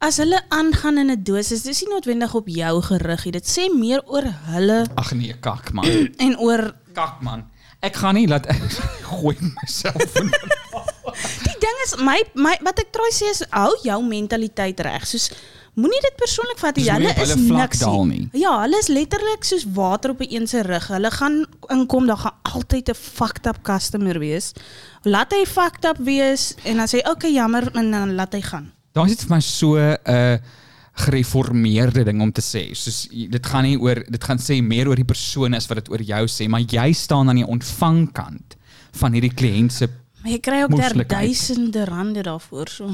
Speaker 2: as hulle aangaan in 'n dosis, is, dis nie noodwendig op jou gerig nie. Dit sê meer oor hulle
Speaker 1: Ag nee, kak man.
Speaker 2: en oor
Speaker 1: Kak man. Ek gaan nie laat [laughs] gooi myself in.
Speaker 2: die ding is my my wat ek probeer sê is hou jou mentaliteit reg. Soos moenie dit persoonlik vat nie.
Speaker 1: Soos moenie
Speaker 2: Hulle
Speaker 1: op
Speaker 2: is
Speaker 1: hulle vlak
Speaker 2: niks
Speaker 1: daal
Speaker 2: nie. Ja, hulle is letterlik soos water op 'n een se rug. Hulle gaan inkom, daar gaan altyd 'n fucked up customer wees. Laat hy fucked up wees en dan sê hy, "Oké, okay, jammer," en dan laat hy gaan.
Speaker 1: Daar is dit vir my so 'n uh, gereformeerde ding om te sê. Soos jy- dit gaan nie oor dit gaan sê meer oor die persoon as wat dit oor jou sê, maar jy staan aan die ontvangkant van hierdie kliënt se
Speaker 2: Maar jy kry ook daar
Speaker 1: Moeslikheid.
Speaker 2: duisende rande daarvoor so.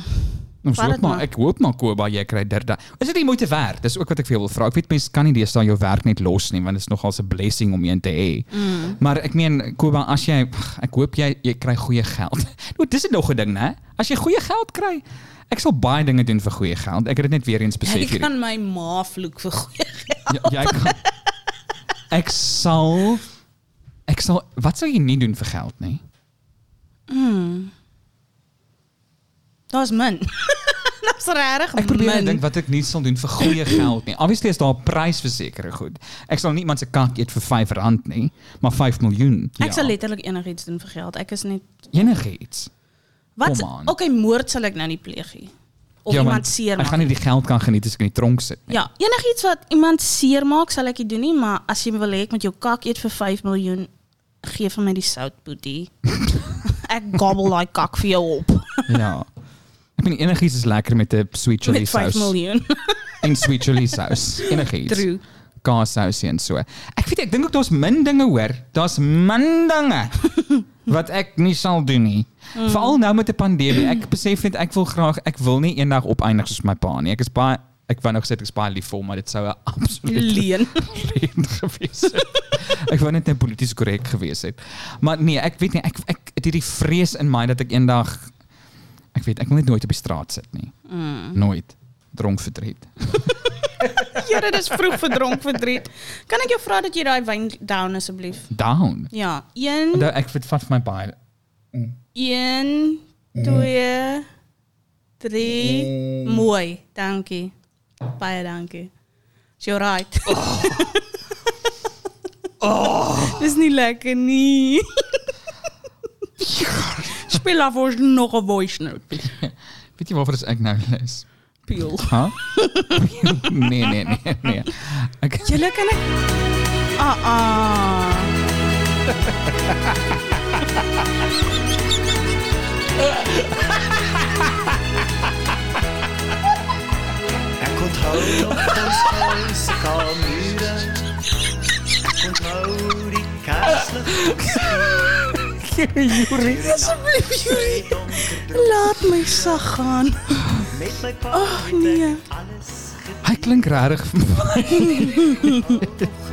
Speaker 1: Ons
Speaker 2: Vat
Speaker 1: hoop
Speaker 2: dit
Speaker 1: maar,
Speaker 2: maar.
Speaker 1: ek hoop maar Koba jy kry dit. Is dit nie moeite werd? Dis ook wat ek vir jou wil vra. Ek weet mense kan nie deesdae jou werk net los nie want dit is nogal 'n blessing om een te hê. Mm. Maar ek meen Koba, as jy ek hoop jy jy kry goeie geld. [laughs] Nou dis nog 'n ding, né? As jy goeie geld kry, ek sal baie dinge doen vir goeie geld. Ek het dit net weer eens besef
Speaker 2: Ek
Speaker 1: hierdie-
Speaker 2: kan my ma vloek vir goeie geld.
Speaker 1: Ja, jy kan Ek sal ek sal wat sal jy nie doen vir geld nie?
Speaker 2: Daar's min. [laughs] Dit's regtig min.
Speaker 1: Ek probeer net Nee, dink wat ek nie sal doen vir goeie geld nie. Obviously is daar 'n prys vir sekere goed. Ek sal nie iemand se kak eet vir R5 nie, maar 5 miljoen. Ja.
Speaker 2: Ek sal letterlik enigiets doen vir geld. Ek is net
Speaker 1: enigiets.
Speaker 2: wat
Speaker 1: Kom aan.
Speaker 2: okay, moord sal ek nou nie pleeg nie. Of
Speaker 1: Ja, want
Speaker 2: iemand
Speaker 1: Ek
Speaker 2: seermaak.
Speaker 1: gaan nie die geld kan geniet as ek in die tronk sit nie.
Speaker 2: Ja, enigiets wat iemand seermaak sal ek nie doen nie, maar as jy wil hê ek moet jou kak eet vir 5 miljoen, gee vir my die sout boetie. [laughs] ek gobble daai kak vir jou op [laughs]
Speaker 1: Ja. Ek meen enigiets is lekker met 'n sweet chili
Speaker 2: met 5
Speaker 1: sous
Speaker 2: miljoen. [laughs]
Speaker 1: en sweet chili sous. Enigiets.
Speaker 2: True.
Speaker 1: kaassousie en so. Ek weet ek dink ook daar's min dinge hoor. Daar's min dinge [laughs] wat ek nie sal doen nie. Mm. Veral nou met 'n pandemie. Ek besef net ek wil graag ek wil nie eendag opeindig soos my pa nie. Ek is baie ek wou nog sê ek is baie lief vir hom, maar dit sou 'n [laughs] absolute
Speaker 2: Leen. [laughs]
Speaker 1: leen gewees het. [laughs] Ek wou net net polities korrek gewees het. Maar nee, ek weet nie ek ek het hierdie vrees in my dat ek eendag ek weet ek wil net nooit op die straat sit nie. Mm. Nooit dronk verdriet.
Speaker 2: Here, dis vroeg verdronk verdriet. Kan ek jou vra dat jy daai wyn down asseblief?
Speaker 1: [laughs] Down.
Speaker 2: Ja, 1
Speaker 1: Onthou ek vind vat vir my baie
Speaker 2: 1 2 3 Mooi. Dankie. Baie dankie. Is jy right? Oh. [laughs] Dis nie lekker nie. Speel af ons nog 'n voice note.
Speaker 1: [laughs] Weet jy waarvoor is ek nou lus?
Speaker 2: Peel.
Speaker 1: Ha? [laughs] nee, nee, nee, nee. Ek
Speaker 2: Julle kan ek Ah ah.
Speaker 3: Ek onthou nog ons huis kalmure. Ek onthou die kaarslig
Speaker 1: Juri.
Speaker 2: Asseblief, Yuri. Laat my sag gaan.
Speaker 3: met my pa.
Speaker 2: Ag nee.
Speaker 3: Alles
Speaker 1: Hy klink regtig [laughs] vir my.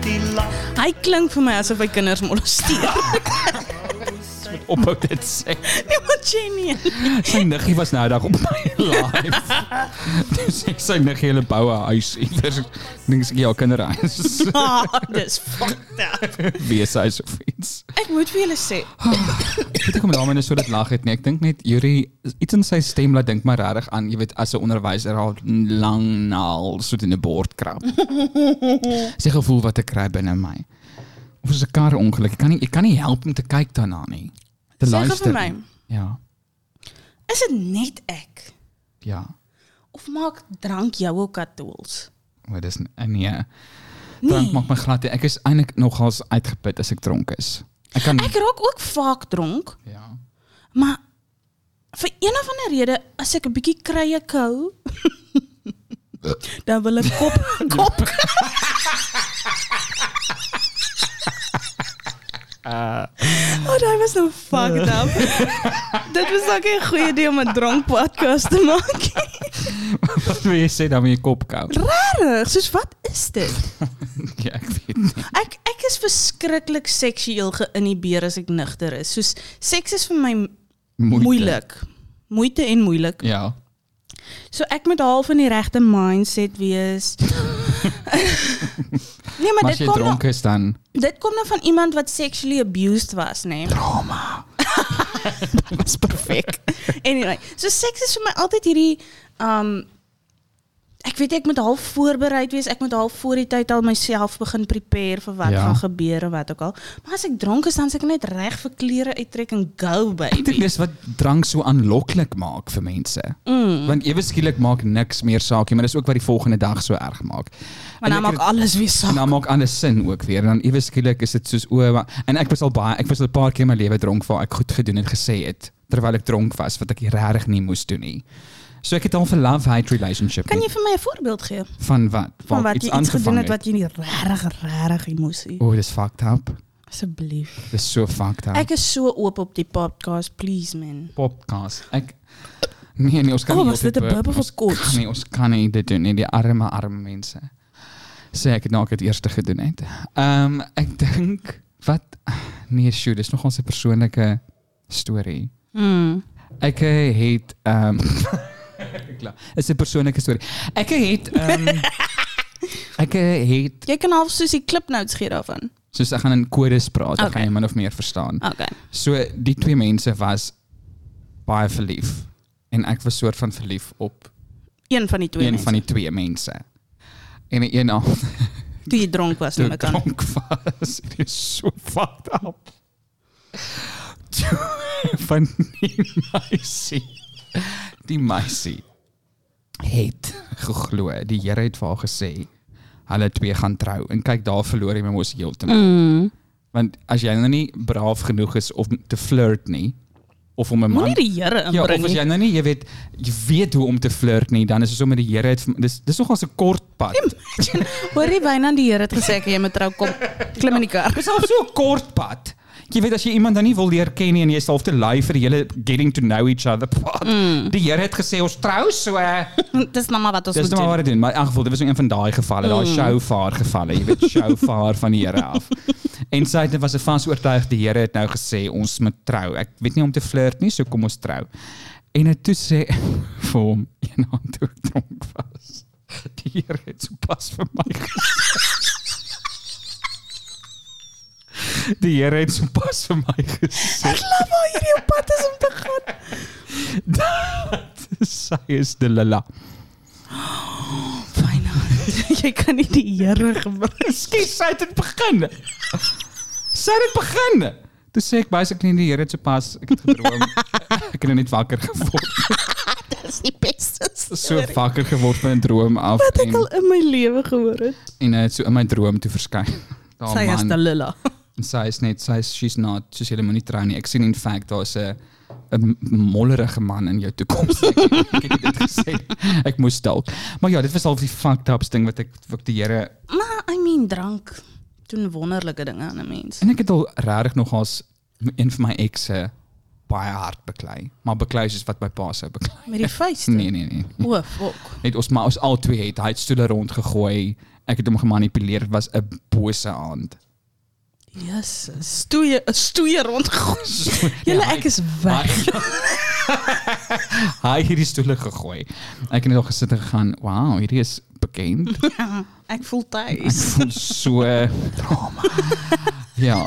Speaker 3: die lag
Speaker 2: Hy klink vir my asof hy kinders molesteer.
Speaker 1: ophou dit sê.
Speaker 2: nee, wat jy nie.
Speaker 1: Sy niggie was nou dag op my [laughs] live. Dis ek sy niggie hulle bou 'n huis [laughs] iewers. Dink ek ja, kinderhuis. [laughs]
Speaker 2: Ah, dis fucked up.
Speaker 1: Wees hy so fiets.
Speaker 2: Ek moet vir julle sê,
Speaker 1: Ek weet ek kom daarmee net so dat lag het nie. Ek dink net Juri iets in sy stem laat dink my regtig aan, jy weet, as 'n onderwyser haar lang naal so in 'n bord
Speaker 2: [laughs]
Speaker 1: krap. Sy gevoel wat ek kry binne my. Of is 'n kar ongeluk. Ek kan nie ek kan nie help om te kyk daarna nie. Te
Speaker 2: Sê gou vir
Speaker 1: luister.
Speaker 2: my.
Speaker 1: nie. Ja.
Speaker 2: is dit net ek
Speaker 1: Ja.
Speaker 2: of maak drank jou ook katools?
Speaker 1: Maar dis eh, nee. Drank maak my glad. nie. Ek is eintlik nogals uitgeput as ek dronk is. Ek kan
Speaker 2: Ek raak ook vaak dronk,
Speaker 1: ja. [laughs]
Speaker 2: maar vir een of ander rede as ek 'n bietjie krye kou, [laughs] dan wil ek kop kop. Oh, daai was nou fucked up. Dit was ook 'n goeie idee om 'n dronk podcast te maak.
Speaker 1: Wat wil jy sê dan met jou kop kou?
Speaker 2: Rarig, soos wat is dit?
Speaker 1: [laughs] Ja, ek weet. Nie.
Speaker 2: Ek ek is verskriklik seksueel geïnhibeer as ek nigter is. Soos seks is vir my
Speaker 1: Moeite.
Speaker 2: moeilik. Moeite en moeilik.
Speaker 1: Ja.
Speaker 2: So ek moet half in die regte mindset
Speaker 1: [laughs]
Speaker 2: wees. nee, maar,
Speaker 1: Maar as
Speaker 2: dit
Speaker 1: jy
Speaker 2: kom nou,
Speaker 1: dronk is dan
Speaker 2: dit kom nou van iemand wat sexually abused was, nê? Nee? [laughs]
Speaker 1: trauma.
Speaker 2: Dit's perfek. Anyway, so seks is vir my altyd hierdie um ek weet ek moet half voorbereid wees. Ek moet half voor die tyd al myself begin prepare vir wat
Speaker 1: Ja.
Speaker 2: gaan gebeur en wat ook al. Maar as ek dronk is dan seker net reg vir klere uittrek en go
Speaker 1: Ek dink
Speaker 2: baby.
Speaker 1: dis wat drank so aanloklik maak vir mense. Mm. Want ewe skielik maak niks meer saak nie, maar dis ook wat die volgende dag so erg maak. En ek
Speaker 2: Maar nou
Speaker 1: het-
Speaker 2: maak alles weer
Speaker 1: En
Speaker 2: saak.
Speaker 1: dan maak alles sin ook weer. En dan ewe skielik is dit soos o, maar- en ek was al baie, ek was al 'n paar keer in my lewe dronk waar ek goed gedoen en gesê het terwyl ek dronk was wat ek regtig nie moes doen nie. So ek het al 'n love-hate relationship
Speaker 2: Kan
Speaker 1: met-
Speaker 2: jy vir my 'n voorbeeld gee
Speaker 1: van wat
Speaker 2: van
Speaker 1: ek
Speaker 2: wat jy iets gedoen
Speaker 1: aangevang
Speaker 2: het wat jy nie regtig regtig nie moes nie?
Speaker 1: O, dis fucked up.
Speaker 2: Asseblief.
Speaker 1: Dis so fucked up. Ek
Speaker 2: Ek is so oop op die podcast, please man.
Speaker 1: podcast. Ek Nee nee, ons kan
Speaker 2: O,
Speaker 1: nie
Speaker 2: Oh, was dit 'n
Speaker 1: altyd
Speaker 2: bubble of
Speaker 1: ons
Speaker 2: kots?
Speaker 1: kan Nee, ons kan nie dit doen nie, die arme arme mense. Sê ek het nou ek het eerste gedoen het. Ehm um, ek dink wat nee, sjoe, dis nog ons persoonlike storie.
Speaker 2: Mm.
Speaker 1: Ek eh, het ehm [laughs] klaar. Dit is 'n persoonlike storie. Ek het ehm ek het
Speaker 2: Jy kan half soos die clip nou notes gee daarvan.
Speaker 1: soos ek gaan in kodes praat, okay.
Speaker 2: Okay.
Speaker 1: gaan jy min of meer verstaan.
Speaker 2: Okay.
Speaker 1: So die twee mense was baie verlief en ek was soort van verlief op
Speaker 2: Een van die twee.
Speaker 1: een
Speaker 2: mense.
Speaker 1: van die twee mense. En die een aand
Speaker 2: toe jy dronk
Speaker 1: [laughs]
Speaker 2: was,
Speaker 1: toe
Speaker 2: neem
Speaker 1: ek
Speaker 2: ek aan.
Speaker 1: dronk was, [laughs] dit is so fucked up. Toe [laughs] van die meisie. Die meisie het geglo. Die Here het vir haar gesê hulle twee gaan trou en kyk daar verloor jy my mos heeltemal.
Speaker 2: Mm.
Speaker 1: Want as jy nou nie braaf genoeg is om te flirt nie, of om 'n man
Speaker 2: Moenie die Here
Speaker 1: Ja, of
Speaker 2: inbring
Speaker 1: as
Speaker 2: nie.
Speaker 1: jy nou nie jy weet jy weet hoe om te flirt nie, dan is dit sommer die Here het vir- dis dis nogal 'n kort pad.
Speaker 2: [laughs] Hoor jy byna die Here het gesê ek jy moet trou
Speaker 1: [laughs]
Speaker 2: kom. Klim in die kar. [laughs]
Speaker 1: Dis al so 'n kort pad. Jy weet as jy iemand dan nie wil leer ken nie en jy's half te lui vir die hele getting to know each other pad. Die Here het gesê ons trou so. eh,
Speaker 2: Dis Mm. nou maar wat ons
Speaker 1: Dis
Speaker 2: moet
Speaker 1: nou maar
Speaker 2: doen.
Speaker 1: wat dit doen, maar in elk geval dit was nou een van daai gevalle, daai showvaar gevalle, jy
Speaker 2: [laughs]
Speaker 1: weet showvaar van die Here af. En sy het was 'n vas oortuig die Here het nou gesê ons moet trou. Ek weet nie om te flirt nie, so kom ons trou. En het toe sê [laughs] vir hom een hand toe ek dronk was. Die Here het sopas vir my [laughs] gesê. Die Here het sopas vir my gesê.
Speaker 2: Laat maar hierdie op pad is om te gaan.
Speaker 1: [laughs] dat Sy is die lala.
Speaker 2: [laughs] Fyn. jy kan nie die Here gebruik.
Speaker 1: [laughs] Skus, sy het dit begin. Sy het dit begin. Toe sê ek basically die Here het sopas ek het [laughs] gedroom. ek het nou net wakker geword.
Speaker 2: Dis die beste.
Speaker 1: So wakker geword van 'n droom af
Speaker 2: wat ek
Speaker 1: en
Speaker 2: al in my lewe gehoor het.
Speaker 1: en uh, so in my droom toe verskyn. [laughs] Daar
Speaker 2: Sy
Speaker 1: Oh,
Speaker 2: is
Speaker 1: man.
Speaker 2: [laughs] Dalila.
Speaker 1: En sy is net sy is she's not soos jy moenie trou nie. Ek sien in fact daar's 'n 'n mollerige man in jou toekoms. [laughs] Ek, ek het dit gesê. Ek moes dalk. Maar ja, dit was al die fucked ups ding wat ek wat die Here
Speaker 2: Maar I mean drank doen wonderlike dinge aan 'n mens.
Speaker 1: En ek het al regtig nog as een van my ekse baie hard beklei, maar beklei is wat my pa sou beklei.
Speaker 2: Met die Oh, vuiste.
Speaker 1: Nee, nee, nee.
Speaker 2: O, fok.
Speaker 1: Net ons maar ons al twee het hy het stoele rond gegooi. Ek het hom gemanipuleer. Dit was 'n bose
Speaker 2: [laughs]
Speaker 1: aand.
Speaker 2: Jesus. Stoei, stoei rond. Julle
Speaker 1: Ja,
Speaker 2: ek is weg.
Speaker 1: [laughs] Hy het hierdie stoele gegooi. Ek het net al gesit en gegaan, "Wow, hierdie is
Speaker 2: [laughs]
Speaker 1: bekend."
Speaker 2: Ek voel
Speaker 1: Ek
Speaker 2: tuis.
Speaker 1: voel so drama. [laughs] Ja.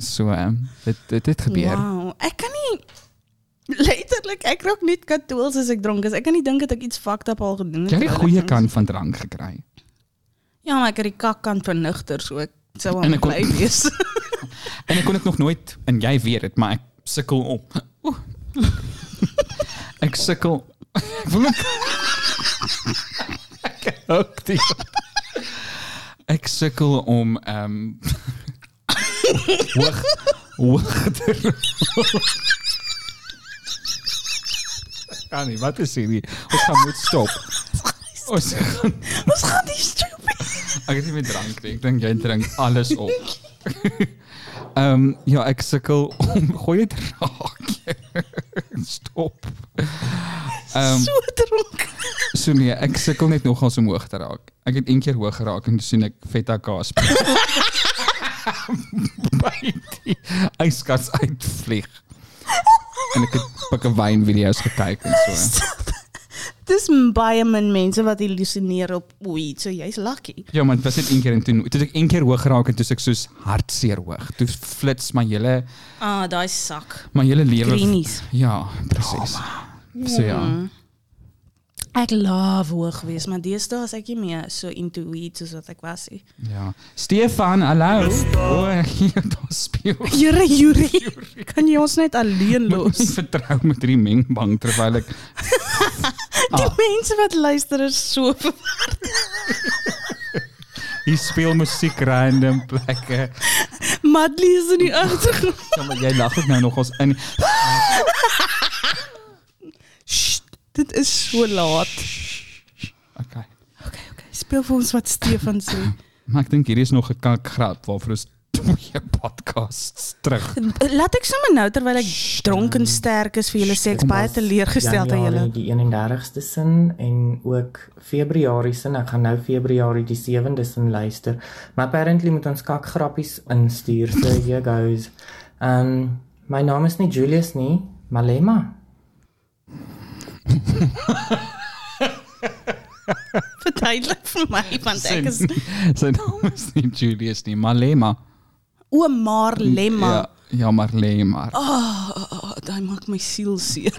Speaker 1: So, ehm, dit dit het gebeur.
Speaker 2: Wow, ek kan nie letterlik ek raak net katools as ek dronk is. Ek kan nie dink dat ek iets fucked up al gedoen
Speaker 1: Jy
Speaker 2: het.
Speaker 1: het die
Speaker 2: terwyl ek
Speaker 1: goeie
Speaker 2: dronk is.
Speaker 1: kant van drank gekry.
Speaker 2: Ja, maar ek het die kak kant vernugter, so ek sou
Speaker 1: En
Speaker 2: hom
Speaker 1: ek kon-
Speaker 2: bly [laughs] wees.
Speaker 1: En ek kon dit nog nooit en jy weet dit, maar ek sukkel om. Oeh. ek sukkel. Ek wil net Ek ook die Ek sukkel om ehm hoog hoog te rol. Annie, wat is hierdie? Ons gaan moet stop. Ons gaan
Speaker 2: Ons gaan die stupid. [laughs]
Speaker 1: Ek het nie meer drank nie. Ek dink jy drink alles [laughs] op. Ehm ja, ek sukkel om [laughs] gooi dit raak. [laughs] Stop. Ehm
Speaker 2: so dronk. [laughs]
Speaker 1: so nee, ek sukkel net nogals om hoog te raak. Ek het een keer hoog geraak en toe sien ek feta kaas. [laughs] by die yskas uitvlieg. En ek het baie wyn video's gekyk en so.
Speaker 2: Dis baie min mense wat illusioneer op weed, so jy's lucky.
Speaker 1: Ja, maar dit was net een keer en toe toe het ek een keer hoog geraak en toe is ek soos hartseer hoog. Toe flits my hele
Speaker 2: Ah, daai sak.
Speaker 1: my hele lewe
Speaker 2: Greenies.
Speaker 1: Ja, presies. So ja.
Speaker 2: Ek love hoog wees, maar deesdae is ek nie meer so into weed soos wat ek was nie.
Speaker 1: Ja. Stefan, hallo. O, hier daar speel.
Speaker 2: [laughs] Jure, Jure, kan jy ons net alleen
Speaker 1: Moet
Speaker 2: los?
Speaker 1: ons vertrou met hierdie mengbang terwyl ek
Speaker 2: Die mense wat luister is so ver-
Speaker 1: hier speel musiek random plekke.
Speaker 2: Madly is in die agtergrond.
Speaker 1: Ja, maar jy lag ook nou nog ons in.
Speaker 2: [laughs] Sst, Dit is so laat.
Speaker 1: Okay.
Speaker 2: Okay, okay. Speel vir ons wat Stefan sê.
Speaker 1: Maar ek dink hier is nog 'n kak grap waarvoor ons twee [laughs] podcasts terug.
Speaker 2: [laughs] Laat ek sommer nou terwyl ek dronk en sterk is vir julle sê ek is baie teleurgesteld aan julle.
Speaker 5: Januarie Die 31ste sin en ook Februarie sin. Ek gaan nou Februarie die 7de sin luister. Maar apparently moet ons kakgrappies instuur. So here goes. Um my naam is nie Julius nie, Malema.
Speaker 2: Verduidelik vir my want ek is
Speaker 1: [laughs] Sy naam is nie Julius nie, Malema.
Speaker 2: o maar lemma.
Speaker 1: Ja, ja, Marlema.
Speaker 2: Oh, daai maak my siel seer.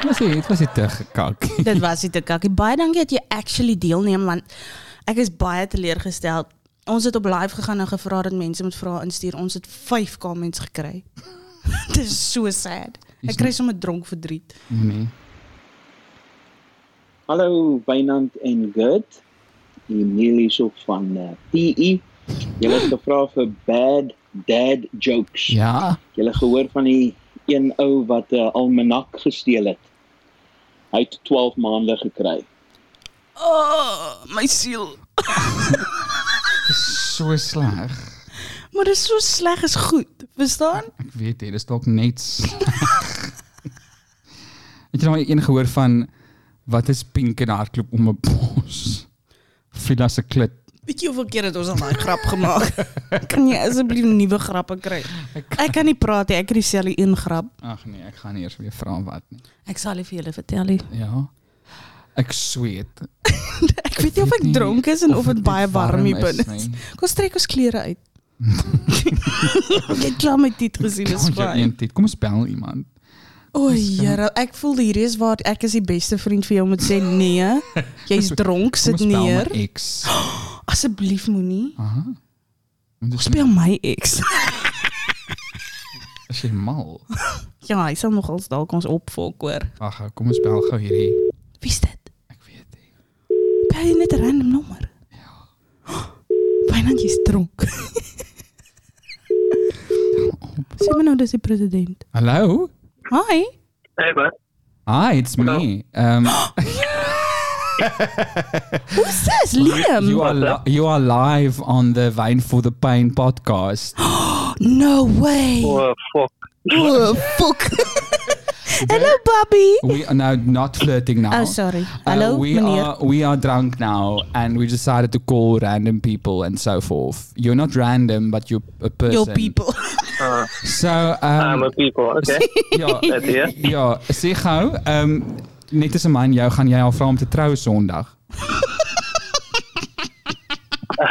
Speaker 1: Wat sê, dit was dit te gekak.
Speaker 2: Dit was dit kakkie. Baie dankie dat jy actually deelneem want ek is baie teleurgesteld. Ons het op live gegaan en gevra dat mense moet vra instuur. Ons het 5 comments gekry. [laughs] Dit is so sad. Ek kry sommer dronk verdriet.
Speaker 1: Nee.
Speaker 6: Hallo Wynand en eh, E. Gert. Hier Neil hierso van uh, PE. Julle het gevra vir bad dad jokes.
Speaker 1: Ja.
Speaker 6: Julle gehoor van die een ou wat 'n almanak gesteel het. Hy het 12 maande gekry.
Speaker 2: Oh, my siel.
Speaker 1: So sleg.
Speaker 2: Maar dit is so sleg is goed. Verstaan?
Speaker 1: Ek weet dit is dalk net [laughs] sleg. Het jy nou een gehoor van wat is pink en hardloop om 'n bos? Villa se klit.
Speaker 2: Weet jy hoeveel keer het ons al daai grap gemaak? [laughs] kan jy asseblief nuwe grappe kry? Ek kan nie praat nie. Ek het dieselfde een grap.
Speaker 1: Ag nee, ek gaan nie eers weer vra wat nie.
Speaker 2: Ek sal dit vir julle vertel. nie.
Speaker 1: Ja. Ek sweet.
Speaker 2: Ek weet nie of ek
Speaker 1: nie
Speaker 2: dronk is en
Speaker 1: of
Speaker 2: of dit
Speaker 1: dit
Speaker 2: baie warm hier
Speaker 1: warm is
Speaker 2: binne [laughs] is.
Speaker 1: nie.
Speaker 2: Kom ons trek ons klere uit. Ek het klaar my dit gesien is
Speaker 1: Kom jy
Speaker 2: fyn.
Speaker 1: een tyd. Kom ons bel iemand.
Speaker 2: O, Here, ek voel hierdie is waar ek is die beste vriend vir jou om te sê nee. Jy's dronk,
Speaker 1: Kom
Speaker 2: sit
Speaker 1: ons bel
Speaker 2: neer.
Speaker 1: my
Speaker 2: [gasps]
Speaker 1: ex.
Speaker 2: Asseblief moenie.
Speaker 1: Aha. Moet dit
Speaker 2: Speel my ex. [laughs]
Speaker 1: as jy mal.
Speaker 2: Ja, hy sal nogals dalk ons opvolg hoor.
Speaker 1: Wag, kom ons bel gou hierdie.
Speaker 2: Wie's dit?
Speaker 1: Ek weet nie.
Speaker 2: Bel jy net 'n random nommer? [gasps] Ja. Byna jy's dronk. Sê maar nou dis die president.
Speaker 1: Hallo?
Speaker 2: Hi.
Speaker 7: Hey, bud.
Speaker 1: Hi, it's me. Um
Speaker 2: Who's this? Liam.
Speaker 1: you are li- you are live on the Wine for the Pain
Speaker 2: [gasps]
Speaker 1: podcast.
Speaker 2: No way.
Speaker 7: Oh, fuck.
Speaker 2: Oh,
Speaker 1: [laughs]
Speaker 2: fuck. Hello, Bobby.
Speaker 1: We are now not flirting now.
Speaker 2: Oh, sorry.
Speaker 1: Uh,
Speaker 2: Hello,
Speaker 1: we
Speaker 2: meneer.
Speaker 1: are we are drunk now, and we decided to call random people and so forth. You're not random, but you're a person.
Speaker 2: Your people. [laughs]
Speaker 7: Uh,
Speaker 1: So
Speaker 7: I'm
Speaker 1: um,
Speaker 7: a people. Okay.
Speaker 1: [laughs] ja,
Speaker 7: That's it.
Speaker 1: ja, sê gou, ehm net as 'n man jou gaan jy al vra om te trou Sondag.
Speaker 7: [laughs]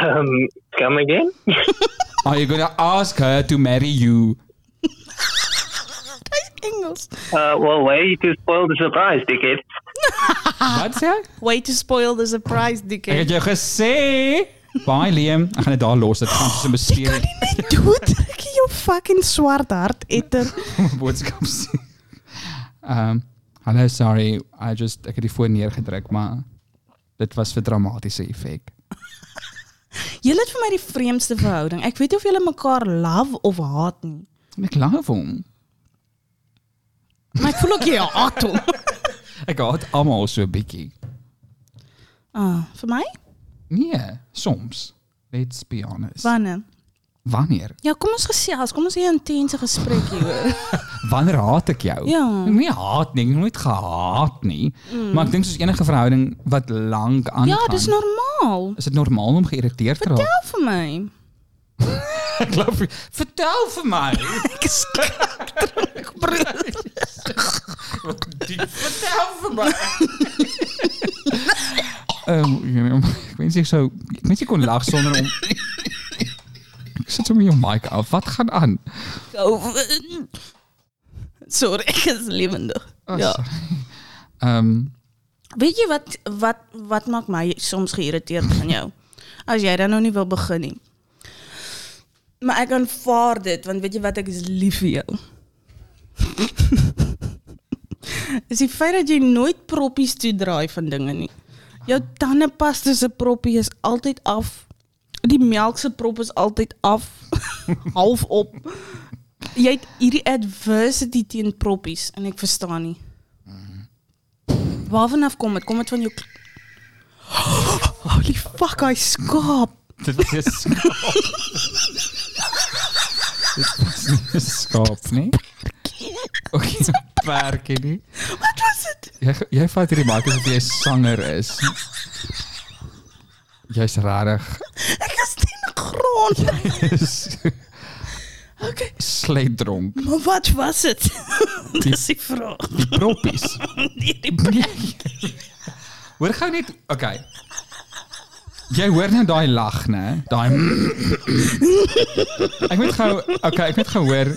Speaker 7: Um, come again?
Speaker 1: Are you going to ask her to marry you?
Speaker 2: Hy's Engels.
Speaker 7: Uh, well, way to spoil the surprise, dickhead.
Speaker 2: Ah.
Speaker 1: Wat sê? hy?
Speaker 2: Way to spoil the surprise,
Speaker 1: Ek het
Speaker 2: dikke.
Speaker 1: jou gesê. Bye Liam, ek gaan dit daar los. Dit gaan soos 'n
Speaker 2: Kan
Speaker 1: mysterie
Speaker 2: jy net dood trek jou fucking swart hart etter?
Speaker 1: boodskap sê. Ehm, hallo, sorry. I just ek het die foon neergedruk, maar dit was vir dramatiese effek.
Speaker 2: Julle het vir my die vreemdste verhouding. Ek weet nie of julle mekaar love of haat nie.
Speaker 1: En Ek lag vir hom.
Speaker 2: Maar ek voel ook jy haat hom.
Speaker 1: Ek haat almal so 'n bietjie.
Speaker 2: Ah, vir my?
Speaker 1: Nee, soms. Let's be honest.
Speaker 2: Wanneer?
Speaker 1: Wanneer?
Speaker 2: Ja, kom ons gesels. Kom ons hê 'n intense gesprek hier.
Speaker 1: Wanneer haat ek jou?
Speaker 2: Ja. Mm.
Speaker 1: Ek nie haat nie, ek het nooit gehaat nie. Maar ek dink soos enige verhouding wat lank aangaan.
Speaker 2: Ja, dis normaal.
Speaker 1: Is dit normaal om geïrriteerd te raak?
Speaker 2: Vertel vir my.
Speaker 1: [laughs] Ek loop vertel vir my.
Speaker 2: Ek is
Speaker 1: vertel vir my. Ehm, um, ek wens ek sou ek wens ek kon lag sonder om Ek sit sommer jou mic af. Wat gaan aan?
Speaker 2: COVID. Sorry, ek is lewendig.
Speaker 1: Oh,
Speaker 2: ja.
Speaker 1: sorry. Ehm um,
Speaker 2: Weet jy wat wat wat maak my soms geïrriteerd van jou? As jy dan nou nie wil begin nie. Maar ek aanvaar dit want weet jy wat ek is lief vir jou. [laughs] is die feit dat jy nooit proppies toedraai van dinge nie. Jou tandepasta se proppie is altyd af. Die melk se prop is altyd af. [laughs] half op. Jy het hierdie adversity teen proppies en ek verstaan nie. Waarvan af kom dit? Kom dit van jou Holy fuck, hy skaap.
Speaker 1: dit was [laughs] 'n skaap. dit was nie 'n skaap nie. Okay, perkie nie.
Speaker 2: Wat was dit?
Speaker 1: Jy jy vat hierdie mic asof jy 'n sanger is. Jy's [laughs] rarig.
Speaker 2: Ek is teen die [laughs] grond. Okay,
Speaker 1: Sleit dronk.
Speaker 2: maar wat was [laughs] dit? Dis die vraag.
Speaker 1: Die proppies.
Speaker 2: Nee, die
Speaker 1: Hoor gou net, okay. Jy hoor nou daai lag, né? Daai Ek moet gou, okay, ek moet gou hoor.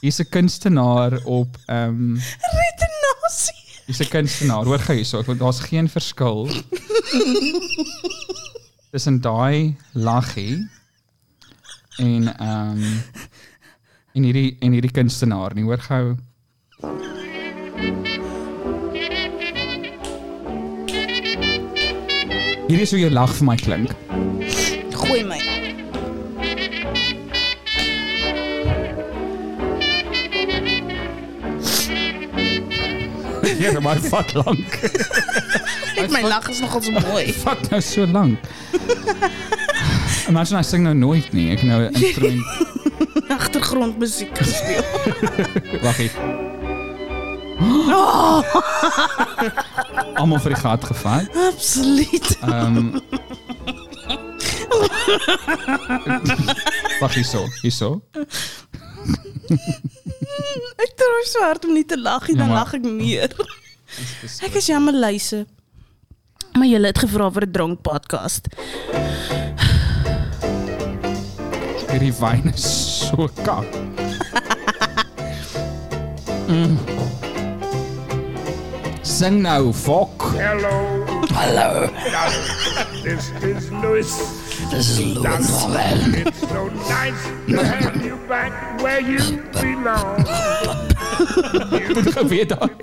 Speaker 1: Hier's 'n kunstenaar op ehm um,
Speaker 2: retenasie.
Speaker 1: hier's 'n kunstenaar. Hoor gou hierso, ek wil daar's geen verskil tussen daai laggie en ehm um, en hierdie en hierdie kunstenaar nie. Hoor gou. Hier [laughs] is hoe jou lag vir my klink.
Speaker 2: Gooi my.
Speaker 1: meer, Ja, nou maar vat lank.
Speaker 2: Net my lag is [laughs] nogal so mooi.
Speaker 1: Vat nou so lank. Imagine hy sing nou nooit nie. Ek [laughs] nou 'n instrument
Speaker 2: Agtergrondmusiek gespeel.
Speaker 1: Waggie. Oh! Almal vir die gat gevat.
Speaker 2: [laughs] Absoluut.
Speaker 1: Ehm um, Wag hierso, hierso.
Speaker 2: Ek probeer so hard om nie te lag nie, dan
Speaker 1: Ja, maar-
Speaker 2: lag ek meer. Ek is jammer luise. Maar julle het gevra vir 'n dronk podcast.
Speaker 1: Hierdie wyn is so kak. Mm. Sing nou, fok.
Speaker 8: This is Louis. This is
Speaker 1: [laughs]
Speaker 8: Louis. It's so nice to have you back where you belong.
Speaker 1: Geweet daai.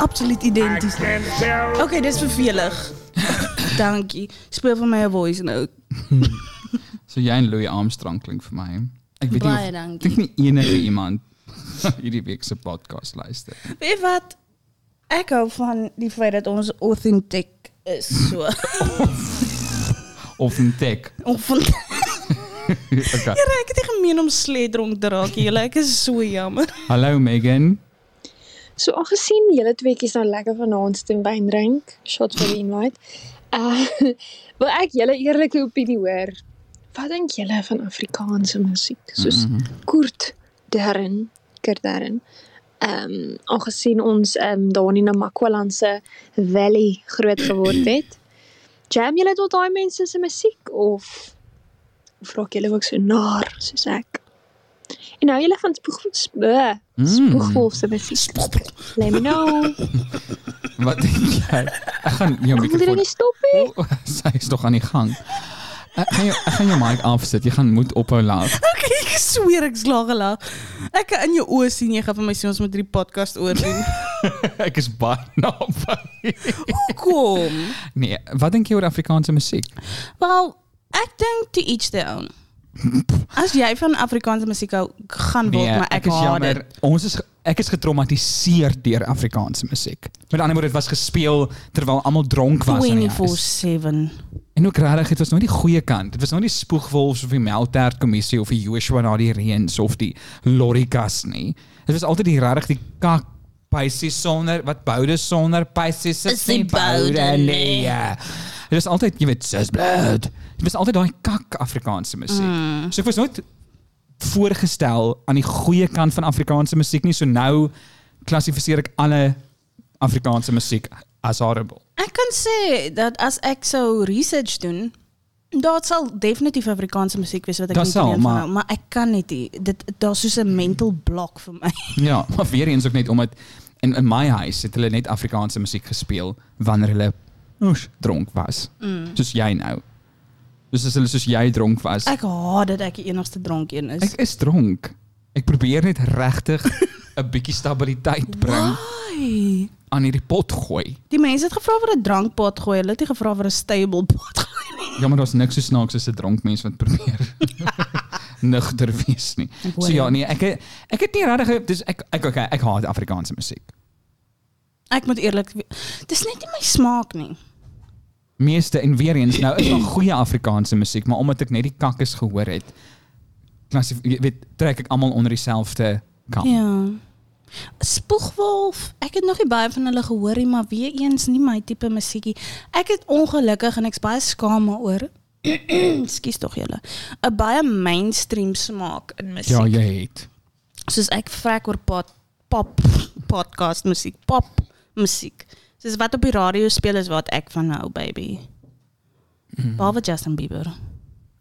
Speaker 2: Absoluut
Speaker 8: I
Speaker 2: identies.
Speaker 8: can tell
Speaker 2: Okay, dis vervelig. [coughs] Dankie. Speel vir my 'n voice note.
Speaker 1: So jy en Louis Armstrong klink vir my. Ek weet
Speaker 2: Baie
Speaker 1: nie. Ek
Speaker 2: dankie.
Speaker 1: dink nie enige iemand [laughs] hierdie week se podcast luister.
Speaker 2: Weet jy wat? Ek hou van die feit dat ons authentiek is [laughs] so.
Speaker 1: Of 'n tek.
Speaker 2: of van
Speaker 1: [laughs] Okay.
Speaker 2: Here, ek het nie gemeen om sledronk te raak nie. Julle, ek is so jammer. [laughs]
Speaker 1: Hallo Megan.
Speaker 9: So aangesien julle tweeetjies nou lekker vanaand steen wyn drink, shots vir die invite. [laughs] Uh wil ek julle eerlike opinie hoor. Wat dink julle van Afrikaanse musiek soos mm -hmm. Kurt Darren, Kurt Darren? Ehm um, aangesien ons ehm um, daar in die Namakwalandse Valley groot geword het. Jam julle tot daai mense se musiek of of raak julle ook so naar soos ek? En nou julle van spoeg sp-
Speaker 1: Mm.
Speaker 9: spoegwolf se musiek. Let me know.
Speaker 1: Wat dink jy? Ek gaan jou
Speaker 9: Moet jy dit
Speaker 1: mikrofoon
Speaker 9: nie stop nie?
Speaker 1: Oh, [laughs] sy is nog aan die gang. Eh, Ek gaan jou, ek gaan jou mic afsit. Jy gaan moet ophou
Speaker 2: [laughs]
Speaker 1: lag.
Speaker 2: Ek ek sweer ek's laag gelag. Ek kan in jou oë sien jy gaan vir my sê ons moet hierdie podcast [laughs] oordoen.
Speaker 1: Ek is baie naby.
Speaker 2: Kom.
Speaker 1: Nee, wat dink jy oor Afrikaanse musiek?
Speaker 2: Wel, ek dink to each their [laughs] own. As jy van Afrikaanse musiek hou, gaan word maar ek,
Speaker 1: Nee, is
Speaker 2: haat dit.
Speaker 1: Ons is ge- ek is getraumatiseer deur Afrikaanse musiek. Met ander woorde, dit was gespeel terwyl almal dronk was in die huis.
Speaker 2: 24/7.
Speaker 1: En ook regtig, dit was nooit die goeie kant. Dit was nooit die spoegwolfs of die melktert kommissie of die Joshua na die reëns of die lorrikas nie. Dit was altyd die regtig die kak Pisces sonder wat boude sonder Pisces
Speaker 2: Is die boude nie.
Speaker 1: Ja. Dit was altyd, jy weet, sis blood. Dit was altyd daai kak Afrikaanse musiek. Mm. So ek was nooit voorgestel aan die goeie kant van Afrikaanse musiek nie. So nou klassifiseer ek alle Afrikaanse musiek as horrible.
Speaker 2: Ek kan sê dat as ek sou research doen, daar sal definitief Afrikaanse musiek wees wat ek
Speaker 1: Daar
Speaker 2: nie
Speaker 1: sal,
Speaker 2: ken van
Speaker 1: maar-
Speaker 2: hou, maar ek kan net nie. Dit daar's soos 'n mental block vir my. [laughs]
Speaker 1: Ja, [laughs] maar weer eens ook net omdat in in my huis het hulle net Afrikaanse musiek gespeel wanneer hulle oes, dronk was. Mm. Soos jy nou. Dus as hulle soos jy dronk was. Ek,
Speaker 2: Ek haat dat ek die enigste dronk een is.
Speaker 1: ek is dronk. Ek probeer net regtig 'n bietjie stabiliteit bring
Speaker 2: Ai.
Speaker 1: aan hierdie pot gooi.
Speaker 2: Die mense het gevra vir 'n drankpot gooi. Hulle het nie gevra vir 'n [laughs] stablepot gooi nie.
Speaker 1: Ja, maar daar's niks so snaaks as 'n dronk mens wat probeer nugter wees nie.
Speaker 2: hoor
Speaker 1: So ja,
Speaker 2: jou.
Speaker 1: nee, ek ek het nie regtig dis ek ek okay, ek haat Afrikaanse musiek.
Speaker 2: Ek moet eerlik we- dis net nie my smaak nie.
Speaker 1: meeste en weer eens nou is daar goeie Afrikaanse musiek, maar omdat ek net die kakkes gehoor het, klassif jy weet trek ek almal onder dieselfde kam. Ja.
Speaker 2: Ja. Spoegwolf. Ek het nog nie baie van hulle gehoor nie, maar weer eens nie my tipe musiekie. Ek het ongelukkig en ek's baie skaam daaroor. [clears throat] Ekskuus tog julle. 'n Baie mainstream smaak in musiek.
Speaker 1: Ja, jy het.
Speaker 2: Soos ek vrek oor pot, pop podcast musiek, pop musiek. Soos wat op die radio speel is wat ek van hou, baby. Behalwe Justin Bieber.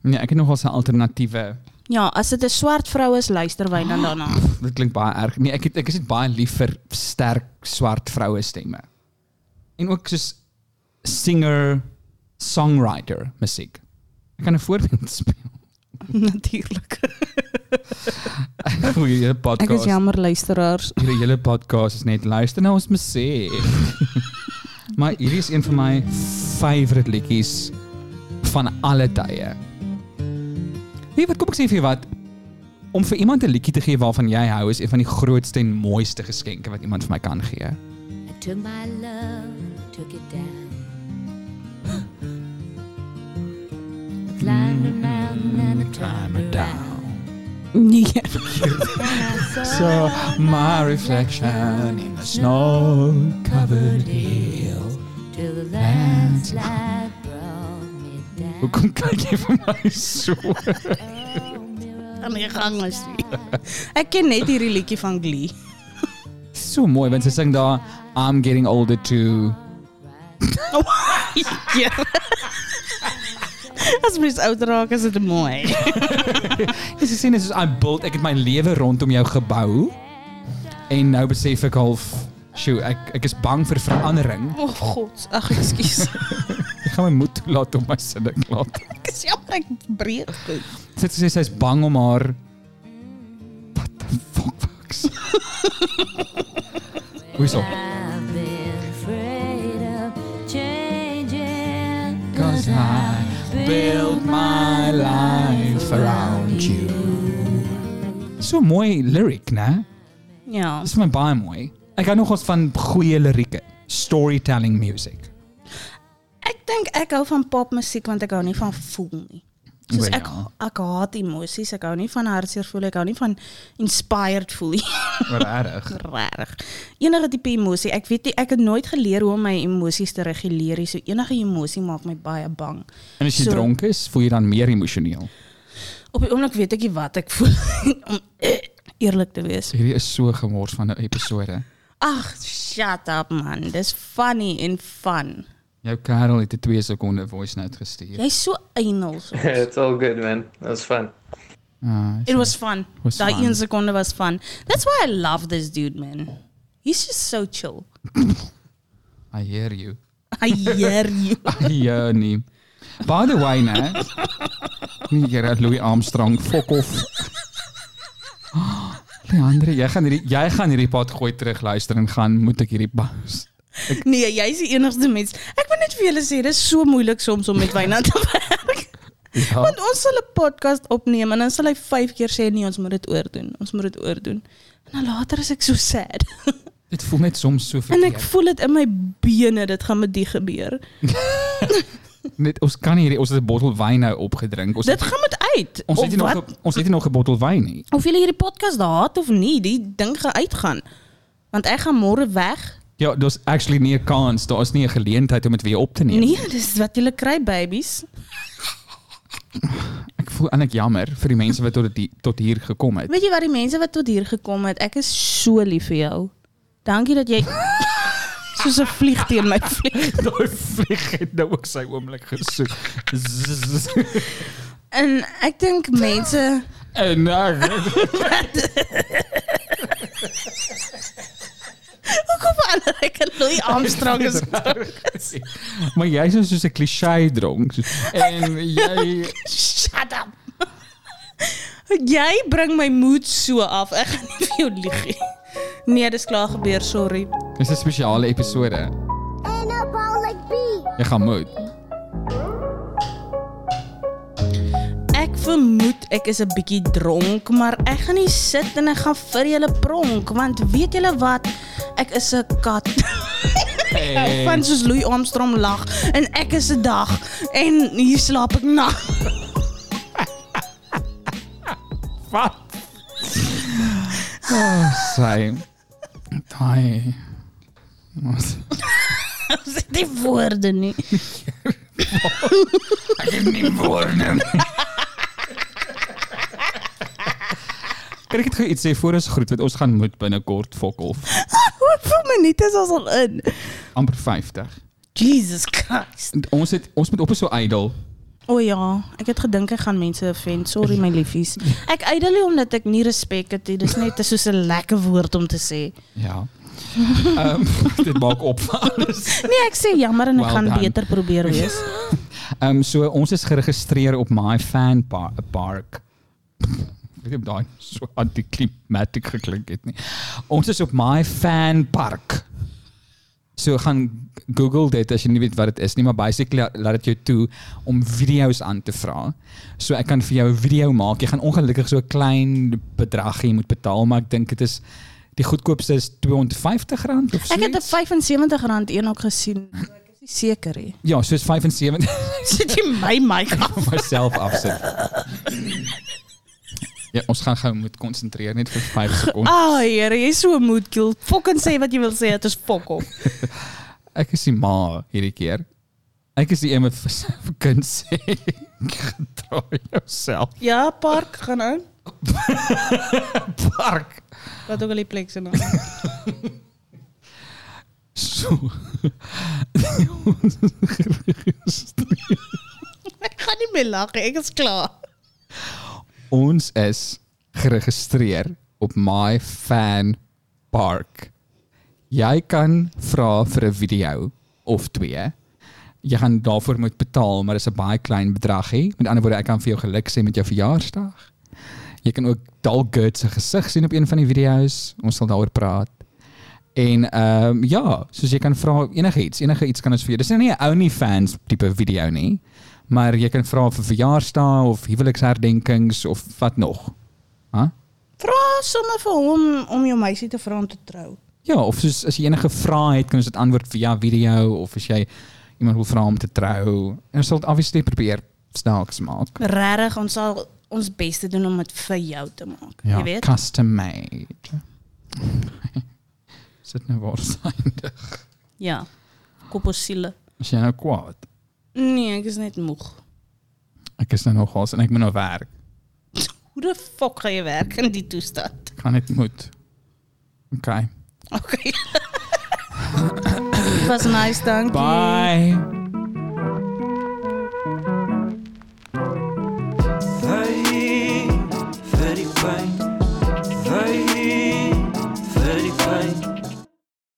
Speaker 1: Nee, ek het nogal 'n alternatiewe.
Speaker 2: Ja, as dit 'n swart vrou is, luister wy dan daarna.
Speaker 1: Dit klink baie erg. Nee, ek het, ek is net baie lief vir sterk swart vroue stemme. En ook soos singer songwriter musiek. Ek kan 'n voorbeeld [laughs] speel.
Speaker 2: Natuurlik.
Speaker 1: Goeie hele
Speaker 2: Ek is
Speaker 1: podcast.
Speaker 2: jammer luisteraars.
Speaker 1: Hierdie hele podcast is net luister na ons
Speaker 10: [laughs]
Speaker 1: musiek. maar hierdie is een van my favourite liedjies van alle tye. Wie wat kom ek sê vir jou wat? om vir iemand 'n liedjie te gee waarvan jy hou is een van die grootste en mooiste geskenke wat iemand vir my kan gee.
Speaker 10: I took my love and took it down. [gasps] I climbed a mountain and I turned around.
Speaker 1: [laughs]
Speaker 2: Nee.
Speaker 10: And I saw
Speaker 1: So my reflection in the snow-covered hills.
Speaker 10: till the landslide brought me down.
Speaker 1: Hoekom kyk jy vir my so?
Speaker 2: Aan die gang is nie. [laughs] Ek ken net hierdie liedjie van Glee.
Speaker 1: So mooi want sy sing daar I'm getting older too.
Speaker 2: Ja. [laughs] As mens oud raak, is dit mooi.
Speaker 1: Dis gesien is soos I built ek het my lewe rondom jou gebou en nou besef ek half sjoe ek ek is bang vir verandering.
Speaker 2: O [laughs] oh, god, ag ekskuus.
Speaker 1: Ek gaan my moed toelaat om my sinne klaar. te-
Speaker 2: [laughs] Ek is jammer ek breek goed.
Speaker 1: Sy het gesê sy's bang om haar What the fuck? Fox? Hoeso?
Speaker 10: I've been afraid of changing.
Speaker 1: Cause I build my life around you. So mooi lyric, né?
Speaker 2: Ja.
Speaker 1: Dis vir my baie mooi. Ek hou nogals van goeie lirieke, storytelling music.
Speaker 2: Ek dink ek hou van popmusiek want ek hou nie van voel nie. Soos
Speaker 1: Wel,
Speaker 2: ek
Speaker 1: ja.
Speaker 2: ek haat emosies, ek hou nie van hartseer voel, ek hou nie van inspired voel nie. [laughs]
Speaker 1: Wat erg.
Speaker 2: Regtig. Enige tipe emosie, ek weet nie, ek het nooit geleer hoe om my emosies te reguleer nie. So enige emosie maak my baie bang.
Speaker 1: En as jy
Speaker 2: So-
Speaker 1: so, dronk is, voel jy dan meer emosioneel.
Speaker 2: Op die oomblik weet ek nie wat ek voel [laughs] om eerlik te wees.
Speaker 1: Hierdie is so gemors van 'n episode.
Speaker 2: Ag, shut up man. Dis funny en fun.
Speaker 1: Jou kerel het 'n 2 sekonde voice note gestuur.
Speaker 2: Jy's so einel so.
Speaker 7: [laughs] it's all good, man. That was fun.
Speaker 1: Ah,
Speaker 2: It was fun.
Speaker 1: [laughs] Was
Speaker 2: Daai
Speaker 1: fun.
Speaker 2: een sekonde was fun. That's why I love this dude man. He's just so chill.
Speaker 1: I hear you. [laughs]
Speaker 2: I hear you.
Speaker 1: Ja nee. By the way, né? Nee, jy raak Louis Armstrong fok of. Leandre, jy gaan hierdie jy gaan hierdie pad gooi terug luister en gaan moet ek hierdie pause.
Speaker 2: Nee, jy's die enigste mens. Ek wil net vir julle sê, dis so moeilik soms om met Wynand te [laughs] werk.
Speaker 1: Ja.
Speaker 2: Want ons sal 'n podcast opneem en dan sal hy 5 keer sê nee, ons moet dit oordoen. Ons moet dit oordoen. En dan later is ek so sad. [laughs]
Speaker 1: Dit voel net soms so
Speaker 2: en ek
Speaker 1: verkeerd.
Speaker 2: voel dit in my bene, dit gaan met die gebeur.
Speaker 1: Net ons kan nie hierdie ons het 'n bottel wyn nou opgedrink. Ons
Speaker 2: Dit gaan met uit.
Speaker 1: ons het
Speaker 2: Of
Speaker 1: nie nog
Speaker 2: wat-
Speaker 1: ge- ons het nie nog 'n bottel wyn nie.
Speaker 2: of julle hierdie podcast haat of nie, die ding gaan uitgaan. Want ek gaan môre weg.
Speaker 1: Ja, daar's actually nie 'n kans, daar is nie 'n geleentheid om dit weer op te neem.
Speaker 2: Nee, [laughs] dis wat julle kry babies.
Speaker 1: Ek voel eintlik jammer vir die mense wat tot die, tot hier gekom
Speaker 2: [laughs]
Speaker 1: het.
Speaker 2: Weet jy wat die mense wat tot hier gekom het, ek is so lief vir jou. Dankie dat jy soos 'n vlieg teen my vlieg.
Speaker 1: Daai vlieg het nou ook sy oomblik gesoek. Zzz.
Speaker 2: [laughs] En ek dink mense
Speaker 1: en [laughs] nou,
Speaker 2: hoekom verander ek in Louis Armstrong is
Speaker 1: maar jy's nou soos 'n klise dronk. soos- En [laughs] jy
Speaker 2: shut up. [laughs] Jy bring my moed so af. Ek gaan nie vir jou lieg nie. Nee, dis klaar gebeur, sorry.
Speaker 1: dis 'n spesiale episode. Jy gaan moet.
Speaker 2: Ek vermoed ek is 'n bietjie dronk, maar ek gaan nie sit en ek gaan vir julle pronk want weet julle wat? Ek is 'n kat.
Speaker 1: Hey.
Speaker 2: Ek Van soos Louis Armstrong lag en ek is 'n dag en hier slaap ek [laughs] nag.
Speaker 1: Wat? Oh, sy. Daai. Ons
Speaker 2: Ons het nie woorde nie. [laughs]
Speaker 1: het nie woorde nie. Kan ek dit gou iets sê voor ons groet want ons gaan moet binnekort fok of
Speaker 2: Hoeveel minute is ons al in?
Speaker 1: amper 50.
Speaker 2: Jesus Christ.
Speaker 1: En Ons het ons moet op so idol.
Speaker 2: O ja, ek het gedink ek gaan mense offend. Sorry my liefies. Ek ydel nie omdat ek nie respek het nie. Dis net soos 'n lekker woord om te sê.
Speaker 1: Ja. Ehm [laughs] dit maak op vir alles.
Speaker 2: Nee, ek sê jammer en ek
Speaker 1: Well
Speaker 2: gaan
Speaker 1: done.
Speaker 2: beter probeer wees.
Speaker 1: Ehm so ons is geregistreer op my fan par park. Ek weet nie of daai so antiklimaties geklink het nie. Ons is op my fan park. So gaan Google dit as jy nie weet wat dit is nie, maar basically la- laat dit jou toe om video's aan te vra. So ek kan vir jou 'n video maak. Jy gaan ongelukkig so 'n klein bedragie moet betaal, maar ek dink dit is die goedkoopste is R250 of so.
Speaker 2: Ek het 'n 75 rand een ook [laughs] gesien. maar Ek is nie seker nie.
Speaker 1: Ja, soos 75
Speaker 2: [laughs] Sit jy my my
Speaker 1: myself afsit. Ja, ons gaan gou moet konsentreer net vir 5 sekondes.
Speaker 2: Ah, oh, Here, jy's so moedkiel. Fucking sê wat jy wil sê, dit is fok op.
Speaker 1: Ek is die ma hierdie keer. Ek is die een wat vir sy vir kind sê [laughs] gedraai jouself.
Speaker 2: Ja, park gaan aan.
Speaker 1: park.
Speaker 2: Wat ook al die plek se [laughs] naam.
Speaker 1: So.
Speaker 2: ek gaan nie meer lag nie. Ek is klaar.
Speaker 1: Ons is geregistreer op My Fan Park. Jy kan vra vir 'n video of twee. Jy gaan daarvoor moet betaal, maar dit is 'n baie klein bedragie. Met ander woorde, ek kan vir jou geluk sê met jou verjaarsdag. Jy kan ook Dal Good se gesig sien op een van die video's. Ons sal daaroor praat. En ehm ja, soos jy kan vra enigiets, enige iets kan ons vir jou. Dis nou nie 'n OnlyFans tipe video nie, maar jy kan vra vir verjaarsdae of huweliksherdenkings of wat nog. Hæ?
Speaker 2: Vra sommer vir hom om jou meisie te vra om te trou.
Speaker 1: Ja, of soos as jy enige vrae het, kan ons dit antwoord via video of as jy iemand wil vra om te trou. En ons sal dit obviously probeer snaaks maak.
Speaker 2: Regtig, ons sal ons bes te doen om dit vir jou te maak.
Speaker 1: Ja,
Speaker 2: jy weet.
Speaker 1: custom made. [laughs] Sit nou waar syndig.
Speaker 2: Ja. Koposiele.
Speaker 1: As jy nou kwaad.
Speaker 2: Nee, ek is net moeg.
Speaker 1: Ek is nou nog haas en ek moet nou werk.
Speaker 2: Hoe die fok gaan jy werk in die toestand?
Speaker 1: Kan dit moet. Okay.
Speaker 2: [laughs] Okay. Was nice, dankie.
Speaker 1: Bye.